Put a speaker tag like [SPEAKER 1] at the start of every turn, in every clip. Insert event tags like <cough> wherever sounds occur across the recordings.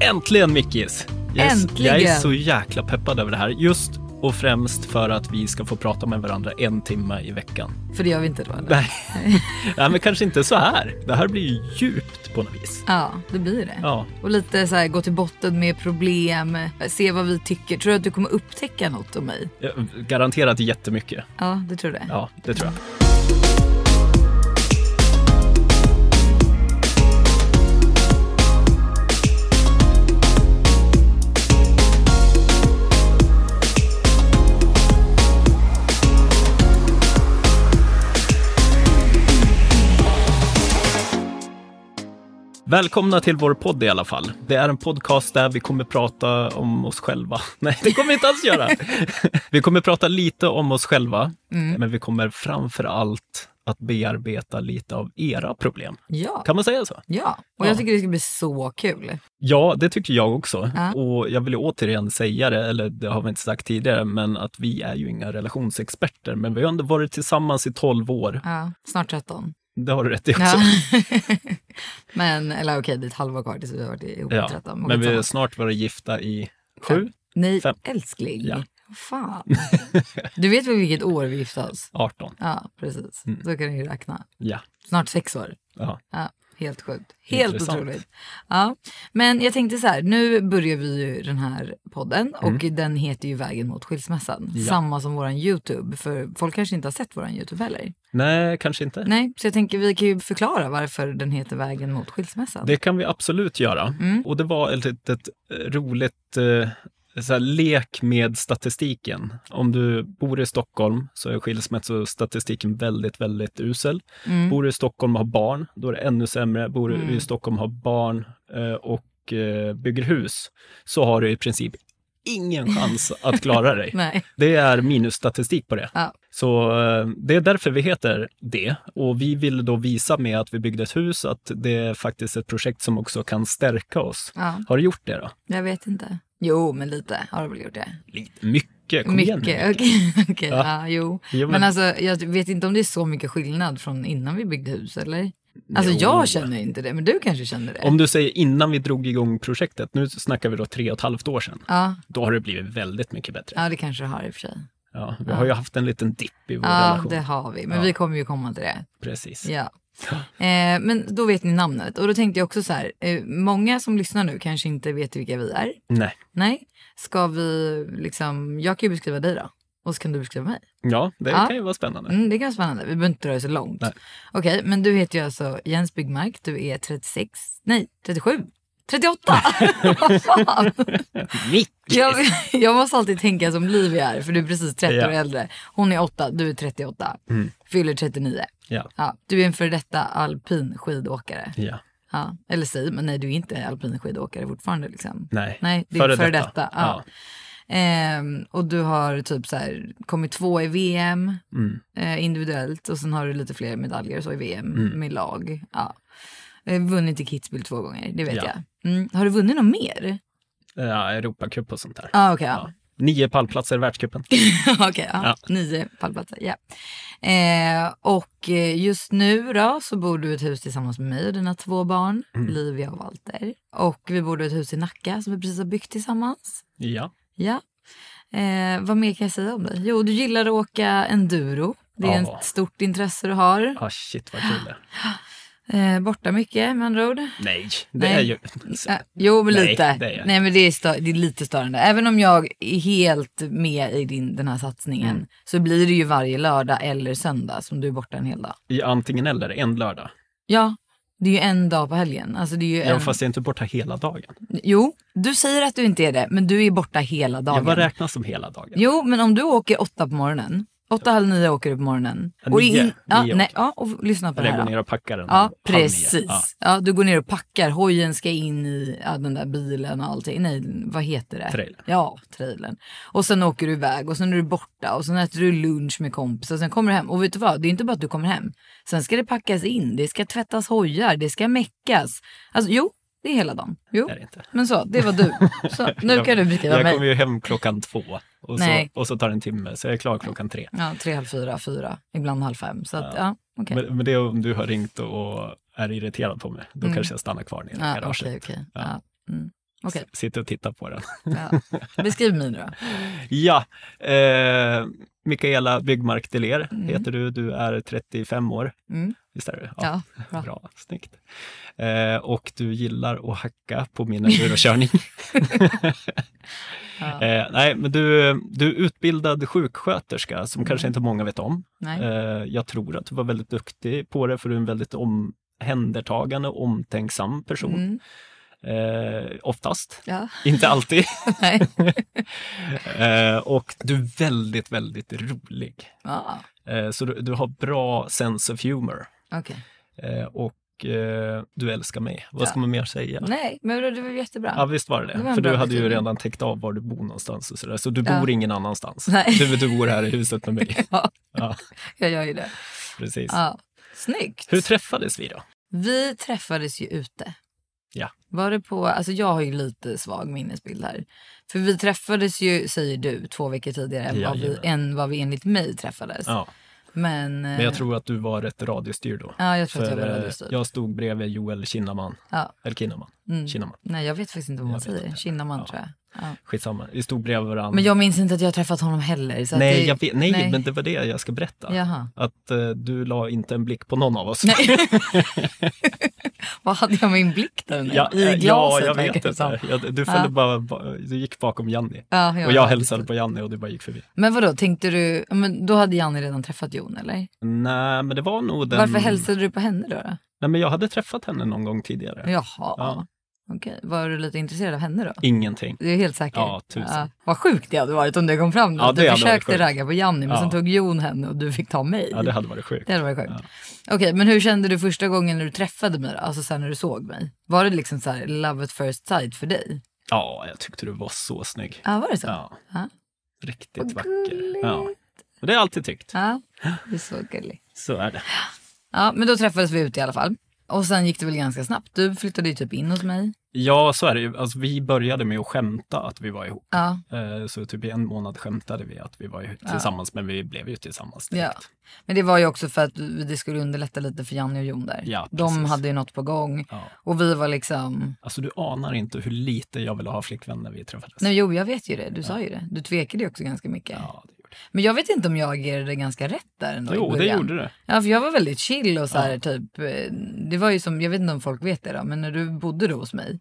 [SPEAKER 1] Äntligen Mickis! Jag är-
[SPEAKER 2] Äntligen!
[SPEAKER 1] Jag är så jäkla peppad över det här. Just och främst för att vi ska få prata med varandra en timme i veckan.
[SPEAKER 2] För det gör vi inte då eller?
[SPEAKER 1] Nej, Nej men kanske inte så här. Det här blir ju djupt på något vis.
[SPEAKER 2] Ja, det blir det.
[SPEAKER 1] Ja.
[SPEAKER 2] Och lite så här gå till botten med problem, se vad vi tycker. Tror du att du kommer upptäcka något om mig?
[SPEAKER 1] Eh, Garanterat jättemycket.
[SPEAKER 2] Ja, det tror jag.
[SPEAKER 1] Ja, det tror jag. Välkomna till vår podd i alla fall. Det är en podcast där vi kommer prata om oss själva. <laughs> Nej, det kommer vi inte alls göra. Vi kommer prata lite om oss själva, men vi kommer framför allt att bearbeta lite av era problem.
[SPEAKER 2] Ja.
[SPEAKER 1] Kan man säga så?
[SPEAKER 2] Ja, och
[SPEAKER 1] Ja.
[SPEAKER 2] jag tycker det ska bli så kul.
[SPEAKER 1] Ja, det tycker jag också.
[SPEAKER 2] Ja.
[SPEAKER 1] Och jag vill ju återigen säga det, eller det har vi inte sagt tidigare, men att vi är ju inga relationsexperter, men vi har ändå varit tillsammans i 12 år.
[SPEAKER 2] Ja, snart 13.
[SPEAKER 1] Det har du rätt i också.
[SPEAKER 2] <laughs> Ja. Men, eller okej, det är ett halvår kvar tills vi har varit ihop i
[SPEAKER 1] Ja,
[SPEAKER 2] 13.
[SPEAKER 1] Men vi har
[SPEAKER 2] skitsamma.
[SPEAKER 1] snart varit gifta i sju,
[SPEAKER 2] Nej,
[SPEAKER 1] fem.
[SPEAKER 2] älskling.
[SPEAKER 1] Ja. <laughs>
[SPEAKER 2] Fan. Du vet väl vilket år vi gifte oss?
[SPEAKER 1] 18.
[SPEAKER 2] Ja, precis.
[SPEAKER 1] Mm.
[SPEAKER 2] Så kan du ju räkna.
[SPEAKER 1] Ja.
[SPEAKER 2] Snart sex år.
[SPEAKER 1] ja.
[SPEAKER 2] Ja, helt sjukt. Helt
[SPEAKER 1] Intressant.
[SPEAKER 2] otroligt. Ja. Men jag tänkte så här, nu börjar vi ju den här podden och
[SPEAKER 1] Mm.
[SPEAKER 2] den heter ju Vägen mot skilsmässan. Samma som våran YouTube, för folk kanske inte har sett våran YouTube heller.
[SPEAKER 1] Nej, kanske inte.
[SPEAKER 2] Nej, så jag tänker vi kan ju förklara varför den heter Vägen mot skilsmässan.
[SPEAKER 1] Det kan vi absolut göra. Och det var ett litet eh, roligt eh, så här, lek med statistiken. Om du bor i Stockholm så är skilsmässostatistiken väldigt, väldigt usel. Bor du i Stockholm och har barn, då är det ännu sämre. Bor du i Stockholm och har barn eh, och eh, bygger hus, så har du i princip ingen chans att klara dig.
[SPEAKER 2] <laughs> Nej.
[SPEAKER 1] Det är minusstatistik på det.
[SPEAKER 2] Ja.
[SPEAKER 1] Så eh, det är därför vi heter det. Och vi ville då visa med att vi byggde ett hus, att det är faktiskt ett projekt som också kan stärka oss.
[SPEAKER 2] Ja.
[SPEAKER 1] Har du gjort det då?
[SPEAKER 2] Jag vet inte. Jo, men lite har du väl gjort det.
[SPEAKER 1] Lite. Mycket. Kom igen
[SPEAKER 2] Mycket,
[SPEAKER 1] nu,
[SPEAKER 2] <laughs> okej.
[SPEAKER 1] Micke.
[SPEAKER 2] okej,
[SPEAKER 1] Ja.
[SPEAKER 2] ja. jo.
[SPEAKER 1] Jo,
[SPEAKER 2] men...
[SPEAKER 1] men-
[SPEAKER 2] alltså, jag vet inte om det är så mycket skillnad från innan vi byggde hus, eller? Alltså
[SPEAKER 1] Jo.
[SPEAKER 2] jag känner inte det, men du kanske känner det?
[SPEAKER 1] Om du säger innan vi drog igång projektet, nu snackar vi då tre och ett halvt år sedan,
[SPEAKER 2] Ja,
[SPEAKER 1] då har det blivit väldigt mycket bättre.
[SPEAKER 2] ja, det kanske du har i och för sig.
[SPEAKER 1] Ja, vi har ju haft en liten dipp i vår
[SPEAKER 2] Ja,
[SPEAKER 1] relation.
[SPEAKER 2] det har vi. Men
[SPEAKER 1] Ja.
[SPEAKER 2] vi kommer ju komma
[SPEAKER 1] <laughs>
[SPEAKER 2] till det.
[SPEAKER 1] Precis.
[SPEAKER 2] Ja. Eh, men då vet ni namnet. Och då tänkte jag också så här, eh, många som lyssnar nu kanske inte vet vilka vi är.
[SPEAKER 1] Nej.
[SPEAKER 2] Nej, ska vi liksom, jag kan ju beskriva dig då. Och så kan du beskriva mig.
[SPEAKER 1] Ja, det
[SPEAKER 2] Ja.
[SPEAKER 1] kan ju vara spännande.
[SPEAKER 2] Mm, det kan vara spännande, vi behöver inte dra det så långt.
[SPEAKER 1] Nej.
[SPEAKER 2] Okej, men du heter ju alltså Jens Byggmark, du är 36, nej 37, 38! Vad fan?
[SPEAKER 1] Mitt!
[SPEAKER 2] <laughs> Jag, <laughs> jag måste alltid tänka som Liv är, för du är precis 30 år
[SPEAKER 1] Ja. Mm.
[SPEAKER 2] äldre. Hon är 8, du är 38, fyller 39.
[SPEAKER 1] Ja.
[SPEAKER 2] Ja, du är en före detta alpin skidåkare.
[SPEAKER 1] ja.
[SPEAKER 2] Ja, eller säg, men nej du är inte alpin skidåkare fortfarande. Liksom.
[SPEAKER 1] Nej.
[SPEAKER 2] nej det är före detta. ja. Ehm, och du har typ så här, kommit två i VM
[SPEAKER 1] Mm.
[SPEAKER 2] eh, individuellt och sen har du lite fler medaljer så i VM
[SPEAKER 1] Mm.
[SPEAKER 2] med lag. Ja. Eh, Vunnit i Kitzbühel två gånger, det vet
[SPEAKER 1] Ja.
[SPEAKER 2] jag. Mm. Har du vunnit något mer?
[SPEAKER 1] Ja, Europacup och sånt där.
[SPEAKER 2] Ah, okay, ja,
[SPEAKER 1] Ja. Nio pallplatser i
[SPEAKER 2] <laughs>
[SPEAKER 1] världscupen.
[SPEAKER 2] Okej, ja.
[SPEAKER 1] Ja.
[SPEAKER 2] nio pallplatser. Ja. Eh, och eh, just nu då så bor du i ett hus tillsammans med mig och dina två barn,
[SPEAKER 1] Mm.
[SPEAKER 2] Livia och Walter. Och vi bor i ett hus i Nacka som vi precis har byggt tillsammans.
[SPEAKER 1] Ja.
[SPEAKER 2] Ja. Eh, vad mer kan jag säga om dig? Jo, du gillar att åka enduro. Det är
[SPEAKER 1] Ja.
[SPEAKER 2] ett stort intresse du har.
[SPEAKER 1] Ah, shit vad kul det är.
[SPEAKER 2] Eh, borta mycket med andra ord.
[SPEAKER 1] Nej, det
[SPEAKER 2] Nej.
[SPEAKER 1] är ju...
[SPEAKER 2] Äh, jo, men
[SPEAKER 1] Alltså. Nej,
[SPEAKER 2] lite.
[SPEAKER 1] det är jag.
[SPEAKER 2] Nej, men det är, stö- det är lite störande. Även om jag är helt med i din, den här satsningen
[SPEAKER 1] Mm.
[SPEAKER 2] så blir det ju varje lördag eller söndag som du är borta en hel dag.
[SPEAKER 1] I antingen eller, en lördag.
[SPEAKER 2] Ja, det är ju en dag på helgen. Alltså, det är ju en...
[SPEAKER 1] Ja, fast jag är inte borta hela dagen.
[SPEAKER 2] Jo, du säger att du inte är det, men du är borta hela
[SPEAKER 1] Ja,
[SPEAKER 2] dagen.
[SPEAKER 1] vad räknas som hela dagen?
[SPEAKER 2] Jo, men om du åker åtta på morgonen, åtta, halv nio åker du på morgonen.
[SPEAKER 1] Ja,
[SPEAKER 2] Och
[SPEAKER 1] nio.
[SPEAKER 2] in- ja,
[SPEAKER 1] Nio
[SPEAKER 2] nej,
[SPEAKER 1] åker.
[SPEAKER 2] ja, och lyssna på
[SPEAKER 1] Eller
[SPEAKER 2] det här.
[SPEAKER 1] jag går
[SPEAKER 2] då.
[SPEAKER 1] ner och packar den. halv
[SPEAKER 2] Ja,
[SPEAKER 1] nio.
[SPEAKER 2] precis.
[SPEAKER 1] Ja.
[SPEAKER 2] Ja. du går ner och packar, hojen ska in i ja, den där bilen och allting. Nej, vad heter det?
[SPEAKER 1] Trailern.
[SPEAKER 2] Ja, trailern. Och sen åker du iväg och sen är du borta och sen äter du lunch med kompisar och sen kommer du hem. Och vet du vad, det är inte bara att du kommer hem. Sen ska det packas in, det ska tvättas hojar, det ska meckas. Alltså jo, det är hela dagen. Jo.
[SPEAKER 1] Det är det inte.
[SPEAKER 2] Men så, det var du. Så, nu kan du beskriva
[SPEAKER 1] jag
[SPEAKER 2] mig.
[SPEAKER 1] kommer ju hem klockan två och så,
[SPEAKER 2] Nej.
[SPEAKER 1] och så tar det en timme, så jag är klar klockan tre.
[SPEAKER 2] Ja, tre, halv fyra, fyra, ibland halv fem. Så att, ja, okej.
[SPEAKER 1] Men, men det är om du har ringt och är irriterad på mig, då kanske jag stannar kvar nere i
[SPEAKER 2] Ja,
[SPEAKER 1] garaget.
[SPEAKER 2] Mm. Ah, okej, okej. Ja. Mm.
[SPEAKER 1] <laughs>
[SPEAKER 2] Okej,
[SPEAKER 1] S- Sitter och tittar på den.
[SPEAKER 2] ja. beskriv mig nu då.
[SPEAKER 1] Ja, eh, Mikaela Byggmark Deler heter du. Du är 35 år.
[SPEAKER 2] Mm.
[SPEAKER 1] Visst är du?
[SPEAKER 2] Ja, bra.
[SPEAKER 1] bra. Snyggt. Eh, och du gillar att hacka på min
[SPEAKER 2] <laughs>
[SPEAKER 1] endurokörning. <laughs> eh, nej, men du, du är utbildad sjuksköterska som kanske inte många vet om.
[SPEAKER 2] Mm. Nej.
[SPEAKER 1] Eh, jag tror att du var väldigt duktig på det, för du är en väldigt omhändertagande och omtänksam person. Eh, oftast.
[SPEAKER 2] Mm. Ja.
[SPEAKER 1] Inte alltid. <laughs>
[SPEAKER 2] Nej.
[SPEAKER 1] Eh, och du är väldigt, väldigt rolig.
[SPEAKER 2] Ja,
[SPEAKER 1] Eh, så du, du har bra sense of humor.
[SPEAKER 2] okej.
[SPEAKER 1] Eh, och eh, du älskar mig. Vad ska man mer säga?
[SPEAKER 2] Nej, men det var jättebra.
[SPEAKER 1] Ja, visst var det
[SPEAKER 2] Det
[SPEAKER 1] det.
[SPEAKER 2] var en
[SPEAKER 1] För
[SPEAKER 2] bra
[SPEAKER 1] du hade ju
[SPEAKER 2] beskrivning.
[SPEAKER 1] redan täckt av var du bor någonstans och sådär. Så du
[SPEAKER 2] Ja.
[SPEAKER 1] bor ingen annanstans.
[SPEAKER 2] Nej.
[SPEAKER 1] Du, du bor här i huset med
[SPEAKER 2] <laughs>
[SPEAKER 1] mig.
[SPEAKER 2] <laughs> Ja,
[SPEAKER 1] Ja,
[SPEAKER 2] jag gör ju det.
[SPEAKER 1] precis.
[SPEAKER 2] Ja. Snyggt.
[SPEAKER 1] Hur träffades vi då?
[SPEAKER 2] Vi träffades ju ute.
[SPEAKER 1] Ja.
[SPEAKER 2] Var det på, alltså jag har ju lite svag minnesbild här. För vi träffades ju, säger du, två veckor tidigare än, vad, vi,
[SPEAKER 1] Jajamän.
[SPEAKER 2] än vad vi enligt mig träffades.
[SPEAKER 1] Ja,
[SPEAKER 2] Men, eh,
[SPEAKER 1] men jag tror att du var rätt radiostyrd då.
[SPEAKER 2] Ja, jag tror att jag var
[SPEAKER 1] eh,
[SPEAKER 2] radiostyrd.
[SPEAKER 1] Jag stod bredvid Joel Kinnaman.
[SPEAKER 2] Ja. Mm.
[SPEAKER 1] Eller Kinnaman. Kinnaman.
[SPEAKER 2] Nej, jag vet faktiskt inte vad man
[SPEAKER 1] Jag vet
[SPEAKER 2] säger.
[SPEAKER 1] inte.
[SPEAKER 2] Kinnaman
[SPEAKER 1] Ja.
[SPEAKER 2] tror jag. Ja.
[SPEAKER 1] Skitsamma. Vi stod bredvid varandra.
[SPEAKER 2] Men jag minns inte att jag har träffat honom heller. Så att
[SPEAKER 1] Nej,
[SPEAKER 2] det,
[SPEAKER 1] jag vet, nej, men det var det jag ska berätta.
[SPEAKER 2] Jaha.
[SPEAKER 1] Att eh, du la inte en blick på någon av oss.
[SPEAKER 2] Vad hade jag min blick där
[SPEAKER 1] <laughs>
[SPEAKER 2] nu?
[SPEAKER 1] ja,
[SPEAKER 2] I glaset
[SPEAKER 1] ja, jag
[SPEAKER 2] verkar
[SPEAKER 1] vet
[SPEAKER 2] det som.
[SPEAKER 1] inte. Jag, du, följde bara, ba- du gick bakom Janni.
[SPEAKER 2] Ja, jag
[SPEAKER 1] och jag
[SPEAKER 2] vet.
[SPEAKER 1] hälsade på Janni och du bara gick förbi.
[SPEAKER 2] Men vadå, tänkte du, ja, men då hade Janni redan träffat Jon eller?
[SPEAKER 1] Nej, men det var nog den...
[SPEAKER 2] Varför hälsade du på henne då? då?
[SPEAKER 1] Nej, men jag hade träffat henne någon gång tidigare.
[SPEAKER 2] Jaha,
[SPEAKER 1] Ja.
[SPEAKER 2] okej. Var du lite intresserad av henne då?
[SPEAKER 1] Ingenting.
[SPEAKER 2] Du är helt säker?
[SPEAKER 1] Ja, tusen.
[SPEAKER 2] vad sjukt det hade varit om det kom fram.
[SPEAKER 1] Ja,
[SPEAKER 2] att
[SPEAKER 1] det
[SPEAKER 2] du
[SPEAKER 1] hade varit
[SPEAKER 2] försökte
[SPEAKER 1] sjukt.
[SPEAKER 2] ragga på Janni men
[SPEAKER 1] Ja.
[SPEAKER 2] sen tog Jon henne och du fick ta mig.
[SPEAKER 1] Ja, det hade varit sjukt.
[SPEAKER 2] Det hade varit sjukt. Okej, men hur kände du första gången när du träffade mig då? Alltså sen när du såg mig? Var det liksom så här love at first sight för dig?
[SPEAKER 1] Ja, jag tyckte du var så snygg.
[SPEAKER 2] Ja, var det så?
[SPEAKER 1] Ja.
[SPEAKER 2] Ja.
[SPEAKER 1] Riktigt vacker. Ja. Och det har jag alltid tyckt.
[SPEAKER 2] Ja, det är så gulligt.
[SPEAKER 1] Så är det.
[SPEAKER 2] Ja, men då träffades vi ute i alla fall. Och sen gick det väl ganska snabbt. Du flyttade ju typ in hos mig.
[SPEAKER 1] Ja, så är det ju. Alltså, vi började med att skämta att vi var ihop.
[SPEAKER 2] Ja.
[SPEAKER 1] Eh, Så typ i en månad skämtade vi att vi var ju tillsammans, men vi blev ju tillsammans
[SPEAKER 2] Ja.
[SPEAKER 1] direkt.
[SPEAKER 2] Men det var ju också för att det skulle underlätta lite för Janne och Jon där.
[SPEAKER 1] Ja,
[SPEAKER 2] De
[SPEAKER 1] precis.
[SPEAKER 2] hade ju något på gång.
[SPEAKER 1] Ja.
[SPEAKER 2] Och vi var liksom,
[SPEAKER 1] Alltså du anar inte hur lite jag ville ha flickvän när vi träffades.
[SPEAKER 2] nej jo jag vet ju det, du sa ju det. Du tvekade ju också ganska
[SPEAKER 1] Ja,
[SPEAKER 2] mycket.
[SPEAKER 1] det gjorde
[SPEAKER 2] Men jag vet inte om jag agerade ganska rätt där ändå
[SPEAKER 1] jag.
[SPEAKER 2] i
[SPEAKER 1] Jo, det
[SPEAKER 2] början.
[SPEAKER 1] gjorde du.
[SPEAKER 2] Ja, för jag var väldigt chill och så här typ, eh, det var ju som, jag vet inte om folk vet det då, men när du bodde då hos mig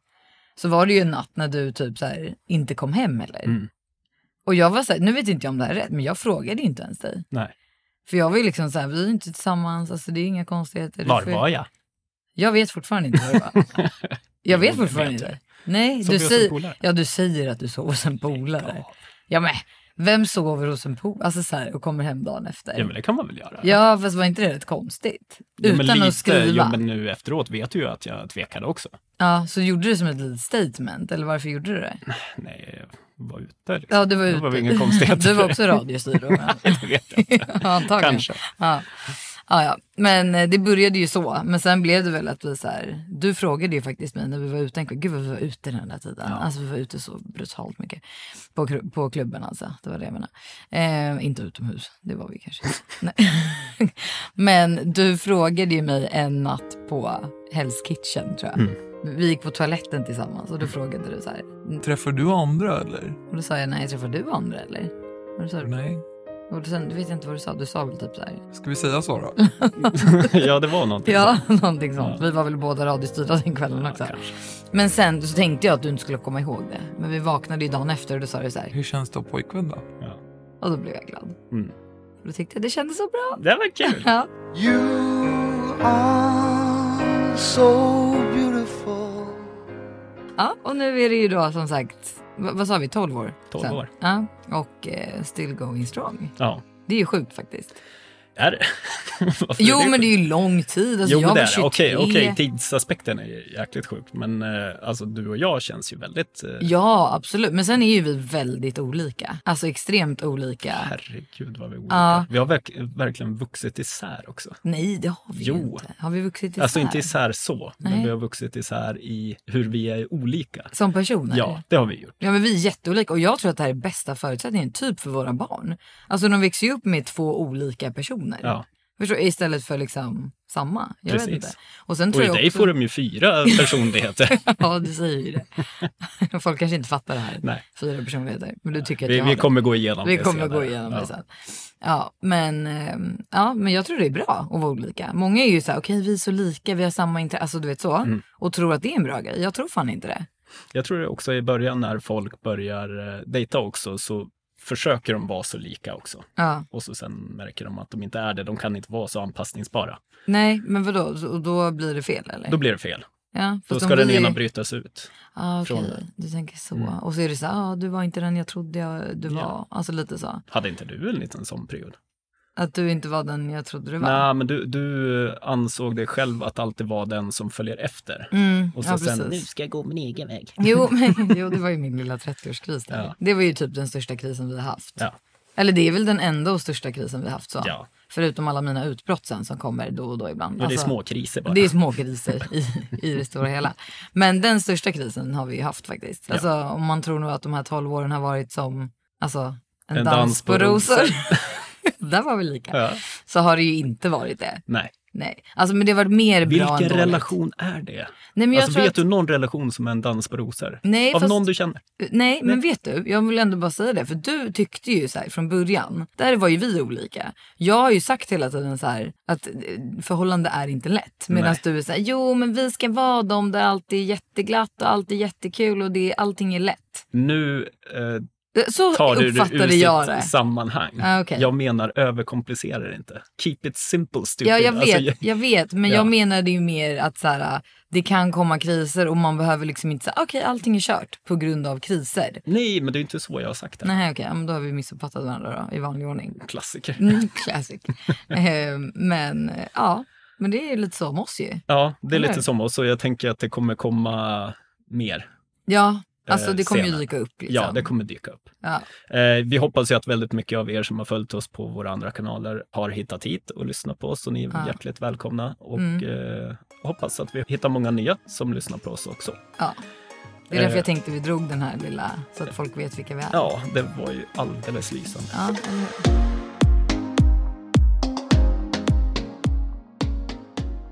[SPEAKER 2] så var det ju en natt när du typ så här inte kom hem eller?
[SPEAKER 1] Mm.
[SPEAKER 2] Och jag var så här, nu vet inte jag om det här är rätt, men jag frågade inte ens dig.
[SPEAKER 1] Nej.
[SPEAKER 2] För jag var ju liksom så här, vi är inte tillsammans, alltså det är inga konstigheter. Det
[SPEAKER 1] Var
[SPEAKER 2] sker-
[SPEAKER 1] var jag?
[SPEAKER 2] Jag vet fortfarande inte vad
[SPEAKER 1] <laughs>
[SPEAKER 2] det var. Jag vet
[SPEAKER 1] Jo, det
[SPEAKER 2] fortfarande
[SPEAKER 1] vet jag.
[SPEAKER 2] inte. Nej,
[SPEAKER 1] Sov
[SPEAKER 2] du
[SPEAKER 1] vi hos en polare?
[SPEAKER 2] säger, ja, du säger att du sov hos en polare. Ja, men vem sover hos en polare? Alltså så här, och kommer hem dagen efter.
[SPEAKER 1] Ja, men det kan man väl göra?
[SPEAKER 2] Ja, fast var inte det rätt konstigt?
[SPEAKER 1] Jo, men
[SPEAKER 2] Utan
[SPEAKER 1] lite,
[SPEAKER 2] att skriva.
[SPEAKER 1] Jo, men nu efteråt vet du ju att jag tvekade också.
[SPEAKER 2] Ja, så gjorde du det som ett litet statement, eller varför gjorde du det?
[SPEAKER 1] Nej, var ute. Liksom.
[SPEAKER 2] Ja, du var
[SPEAKER 1] det
[SPEAKER 2] ute.
[SPEAKER 1] var väl inga
[SPEAKER 2] <laughs>
[SPEAKER 1] konstigheter.
[SPEAKER 2] Du var också radiostyrd då? men-
[SPEAKER 1] <laughs> det vet jag inte. <laughs>
[SPEAKER 2] Ja, <laughs> Antagligen.
[SPEAKER 1] Kanske.
[SPEAKER 2] Ja. Ja, ja. Men eh, det började ju så. Men sen blev det väl att vi så här, du frågade ju faktiskt mig när vi var ute en kväll, gud vad vi var ute den där tiden. Alltså vi var ute så brutalt mycket på, kru- på klubben alltså. Det var det jag menade. Eh, inte utomhus, det var vi kanske. <laughs> Nej. Men du frågade ju mig en natt på Hell's Kitchen tror jag. Vi gick på toaletten tillsammans och då frågade du så här.
[SPEAKER 3] Träffar du andra eller?
[SPEAKER 2] Och då sa jag nej, träffar du andra eller? Och då sa du,
[SPEAKER 3] Nej.
[SPEAKER 2] och då, sen, du vet jag inte vad du sa, du sa väl typ så här.
[SPEAKER 3] Ska vi säga så då?
[SPEAKER 1] ja, det var någonting.
[SPEAKER 2] Ja, <laughs> någonting sånt. Vi var väl båda radiostyrda den kvällen också. Men sen så tänkte jag att du inte skulle komma ihåg det. Men vi vaknade ju dagen efter och då sa du så här.
[SPEAKER 3] Hur känns det att ha pojkvän då?
[SPEAKER 2] Och då blev jag glad.
[SPEAKER 1] Mm.
[SPEAKER 2] Och då tyckte jag det kändes så bra.
[SPEAKER 1] Det var kul.
[SPEAKER 2] Ja.
[SPEAKER 4] You are so beautiful.
[SPEAKER 2] ja, och nu är det ju då som sagt, v- vad sa vi, 12 år?
[SPEAKER 1] 12
[SPEAKER 2] sen.
[SPEAKER 1] år.
[SPEAKER 2] Ja, och eh, still going strong.
[SPEAKER 1] Ja.
[SPEAKER 2] Det är ju sjukt faktiskt.
[SPEAKER 1] Är det? <laughs> Varför
[SPEAKER 2] Jo,
[SPEAKER 1] sjukt?
[SPEAKER 2] men det är ju lång tid. Alltså,
[SPEAKER 1] Jo,
[SPEAKER 2] jag
[SPEAKER 1] men det
[SPEAKER 2] var
[SPEAKER 1] är
[SPEAKER 2] 23.
[SPEAKER 1] det. Okej, okej, tidsaspekten är ju jäkligt sjuk. Men eh, alltså, du och jag känns ju väldigt... Eh,
[SPEAKER 2] Ja, absolut. Men sen är ju vi väldigt olika. Alltså extremt olika.
[SPEAKER 1] Herregud vad vi är olika.
[SPEAKER 2] Ja.
[SPEAKER 1] Vi har verk- verkligen vuxit isär också.
[SPEAKER 2] Nej, det har vi ju
[SPEAKER 1] Jo.
[SPEAKER 2] inte. Har vi vuxit isär?
[SPEAKER 1] Alltså inte isär så,
[SPEAKER 2] Nej.
[SPEAKER 1] men vi har vuxit isär i hur vi är olika.
[SPEAKER 2] Som personer?
[SPEAKER 1] Ja, det har vi gjort.
[SPEAKER 2] Ja men vi är jätteolika och jag tror att det här är bästa förutsättningen typ för våra barn. Alltså de växer ju upp med två olika personer.
[SPEAKER 1] Ja.
[SPEAKER 2] Förstår, istället för liksom samma. Jag vet
[SPEAKER 1] Precis.
[SPEAKER 2] inte. Och sen
[SPEAKER 1] Och
[SPEAKER 2] tror
[SPEAKER 1] i
[SPEAKER 2] jag
[SPEAKER 1] dig
[SPEAKER 2] också...
[SPEAKER 1] får de ju fyra personligheter.
[SPEAKER 2] <laughs> Ja du säger ju
[SPEAKER 1] <laughs>
[SPEAKER 2] det. Folk kanske inte fattar det här.
[SPEAKER 1] Nej.
[SPEAKER 2] Fyra personligheter. Men du tycker att
[SPEAKER 1] Vi,
[SPEAKER 2] jag har
[SPEAKER 1] vi
[SPEAKER 2] det.
[SPEAKER 1] kommer gå igenom
[SPEAKER 2] Vi
[SPEAKER 1] det
[SPEAKER 2] kommer
[SPEAKER 1] senare.
[SPEAKER 2] gå igenom
[SPEAKER 1] ja.
[SPEAKER 2] det sen. Ja men, ehm, ja, men jag tror det är bra att vara olika. Många är ju så här, okej vi är så lika, vi har samma intresse, alltså du vet så.
[SPEAKER 1] Mm.
[SPEAKER 2] Och tror att det är en bra grej. Jag tror fan inte det.
[SPEAKER 1] Jag tror det också i början när folk börjar eh, dejta också så försöker de vara så lika också.
[SPEAKER 2] Ja.
[SPEAKER 1] Och så sen märker de att de inte är det. De kan inte vara så anpassningsbara.
[SPEAKER 2] Nej men vadå, Så- och då blir det fel eller?
[SPEAKER 1] Då blir det fel.
[SPEAKER 2] ja,
[SPEAKER 1] Då
[SPEAKER 2] fast
[SPEAKER 1] ska
[SPEAKER 2] om
[SPEAKER 1] den
[SPEAKER 2] vi-
[SPEAKER 1] ena brytas ut.
[SPEAKER 2] Ah,
[SPEAKER 1] från
[SPEAKER 2] okej.
[SPEAKER 1] det.
[SPEAKER 2] Du tänker så. Och så är det så här, ah, du var inte den jag trodde jag, du var.
[SPEAKER 1] Ja.
[SPEAKER 2] Alltså lite så.
[SPEAKER 1] Hade inte du en liten sån period?
[SPEAKER 2] Att du inte var den jag trodde du var.
[SPEAKER 1] Nej, men du, du ansåg dig själv att alltid vara den som följer efter.
[SPEAKER 2] Mm,
[SPEAKER 1] Och så
[SPEAKER 2] ja,
[SPEAKER 1] sen, nu
[SPEAKER 2] precis.
[SPEAKER 1] ska jag gå min egen väg.
[SPEAKER 2] Jo,
[SPEAKER 1] <laughs>
[SPEAKER 2] men, jo, det var ju min lilla 30-årskris. där.
[SPEAKER 1] Ja.
[SPEAKER 2] Det var ju typ den största krisen vi har haft.
[SPEAKER 1] Ja.
[SPEAKER 2] Eller det är väl den enda och största krisen vi har haft. Så.
[SPEAKER 1] Ja.
[SPEAKER 2] Förutom alla mina utbrott sen som kommer då och då ibland.
[SPEAKER 1] Men det är
[SPEAKER 2] Alltså,
[SPEAKER 1] små kriser bara.
[SPEAKER 2] Det är små kriser i, i det stora hela. Men den största krisen har vi ju haft faktiskt. Alltså, Om man tror nog att de här 12 åren har varit som alltså, en, dans, på rosor.
[SPEAKER 1] <laughs>
[SPEAKER 2] Där var vi lika.
[SPEAKER 1] Ja.
[SPEAKER 2] Så har det ju inte varit det.
[SPEAKER 1] Nej.
[SPEAKER 2] Nej. Alltså, men det har varit mer bra än
[SPEAKER 1] Vilken
[SPEAKER 2] dåligt.
[SPEAKER 1] relation är det?
[SPEAKER 2] Nej, men jag
[SPEAKER 1] alltså,
[SPEAKER 2] tror
[SPEAKER 1] vet
[SPEAKER 2] att-
[SPEAKER 1] du någon relation som är en dans på rosor?
[SPEAKER 2] Nej,
[SPEAKER 1] Av
[SPEAKER 2] fast-
[SPEAKER 1] någon du känner?
[SPEAKER 2] Nej, men vet du, jag vill ändå bara säga det. För du tyckte ju så här från början, där var ju vi olika. Jag har ju sagt hela tiden så här att eh, förhållande är inte lätt. Medan
[SPEAKER 1] Nej.
[SPEAKER 2] du är så här, jo men vi ska vara de där allt är jätteglatt och allt är jättekul och det, allting är lätt.
[SPEAKER 1] Nu eh,
[SPEAKER 2] Eh, Så
[SPEAKER 1] tar du det ur
[SPEAKER 2] uppfattade jag det.
[SPEAKER 1] sitt sammanhang.
[SPEAKER 2] Ah, okej.
[SPEAKER 1] Jag menar överkomplicera det inte. Keep it simple stupid.
[SPEAKER 2] Ja, jag vet,
[SPEAKER 1] Alltså,
[SPEAKER 2] jag, vet men
[SPEAKER 1] Ja.
[SPEAKER 2] jag menade ju mer att så här, det kan komma kriser och man behöver liksom inte säga okej allting är kört på grund av kriser.
[SPEAKER 1] Nej, men det är inte så jag har sagt det.
[SPEAKER 2] Nej okej, ja, men då har vi missuppfattat varandra då, i vanlig ordning.
[SPEAKER 1] Klassiker.
[SPEAKER 2] Mm, classic. <laughs> eh, men eh, ja, men det är ju lite så om oss ju.
[SPEAKER 1] Ja, det är
[SPEAKER 2] Eller?
[SPEAKER 1] lite som oss och jag tänker att det kommer komma mer.
[SPEAKER 2] Ja, alltså
[SPEAKER 1] Eh,
[SPEAKER 2] det kommer ju
[SPEAKER 1] senare.
[SPEAKER 2] dyka upp. Liksom.
[SPEAKER 1] Ja, det kommer dyka upp.
[SPEAKER 2] ja.
[SPEAKER 1] Eh, vi hoppas ju att väldigt mycket av er som har följt oss på våra andra kanaler har hittat hit och lyssnat på oss och ni är
[SPEAKER 2] Ja.
[SPEAKER 1] hjärtligt välkomna och
[SPEAKER 2] Mm.
[SPEAKER 1] eh, hoppas att vi hittar många nya som lyssnar på oss också.
[SPEAKER 2] ja. Det är därför
[SPEAKER 1] Eh.
[SPEAKER 2] jag tänkte vi drog den här lilla, så att folk vet vilka vi är.
[SPEAKER 1] Ja, det var ju alldeles lysande.
[SPEAKER 2] Ja, eller hur?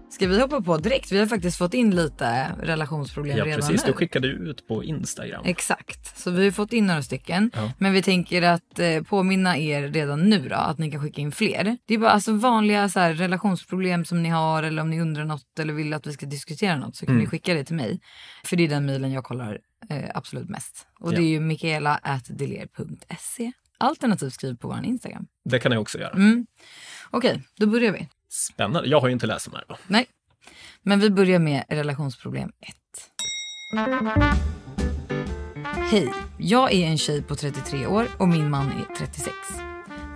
[SPEAKER 2] Ska vi hoppa på direkt? Vi har faktiskt fått in lite relationsproblem
[SPEAKER 1] Ja,
[SPEAKER 2] redan
[SPEAKER 1] precis.
[SPEAKER 2] nu.
[SPEAKER 1] Du skickade ju ut på Instagram.
[SPEAKER 2] Exakt, så vi har ju fått in några stycken.
[SPEAKER 1] Ja.
[SPEAKER 2] Men vi tänker att eh, påminna er redan nu då att ni kan skicka in fler. Det är bara alltså vanliga så här, relationsproblem som ni har eller om ni undrar något eller vill att vi ska diskutera något så kan ni skicka det till mig. För det är den mejlen jag kollar eh, absolut mest. Och det är ju mikaela.deler.se. Alternativt skriv på vår Instagram.
[SPEAKER 1] Det kan jag också göra.
[SPEAKER 2] Mm. Okej, då börjar vi.
[SPEAKER 1] Spännande. Jag har ju inte läst de här. Då.
[SPEAKER 2] Nej, men vi börjar med relationsproblem 1. Hej, jag är en tjej på 33 år och min man är 36.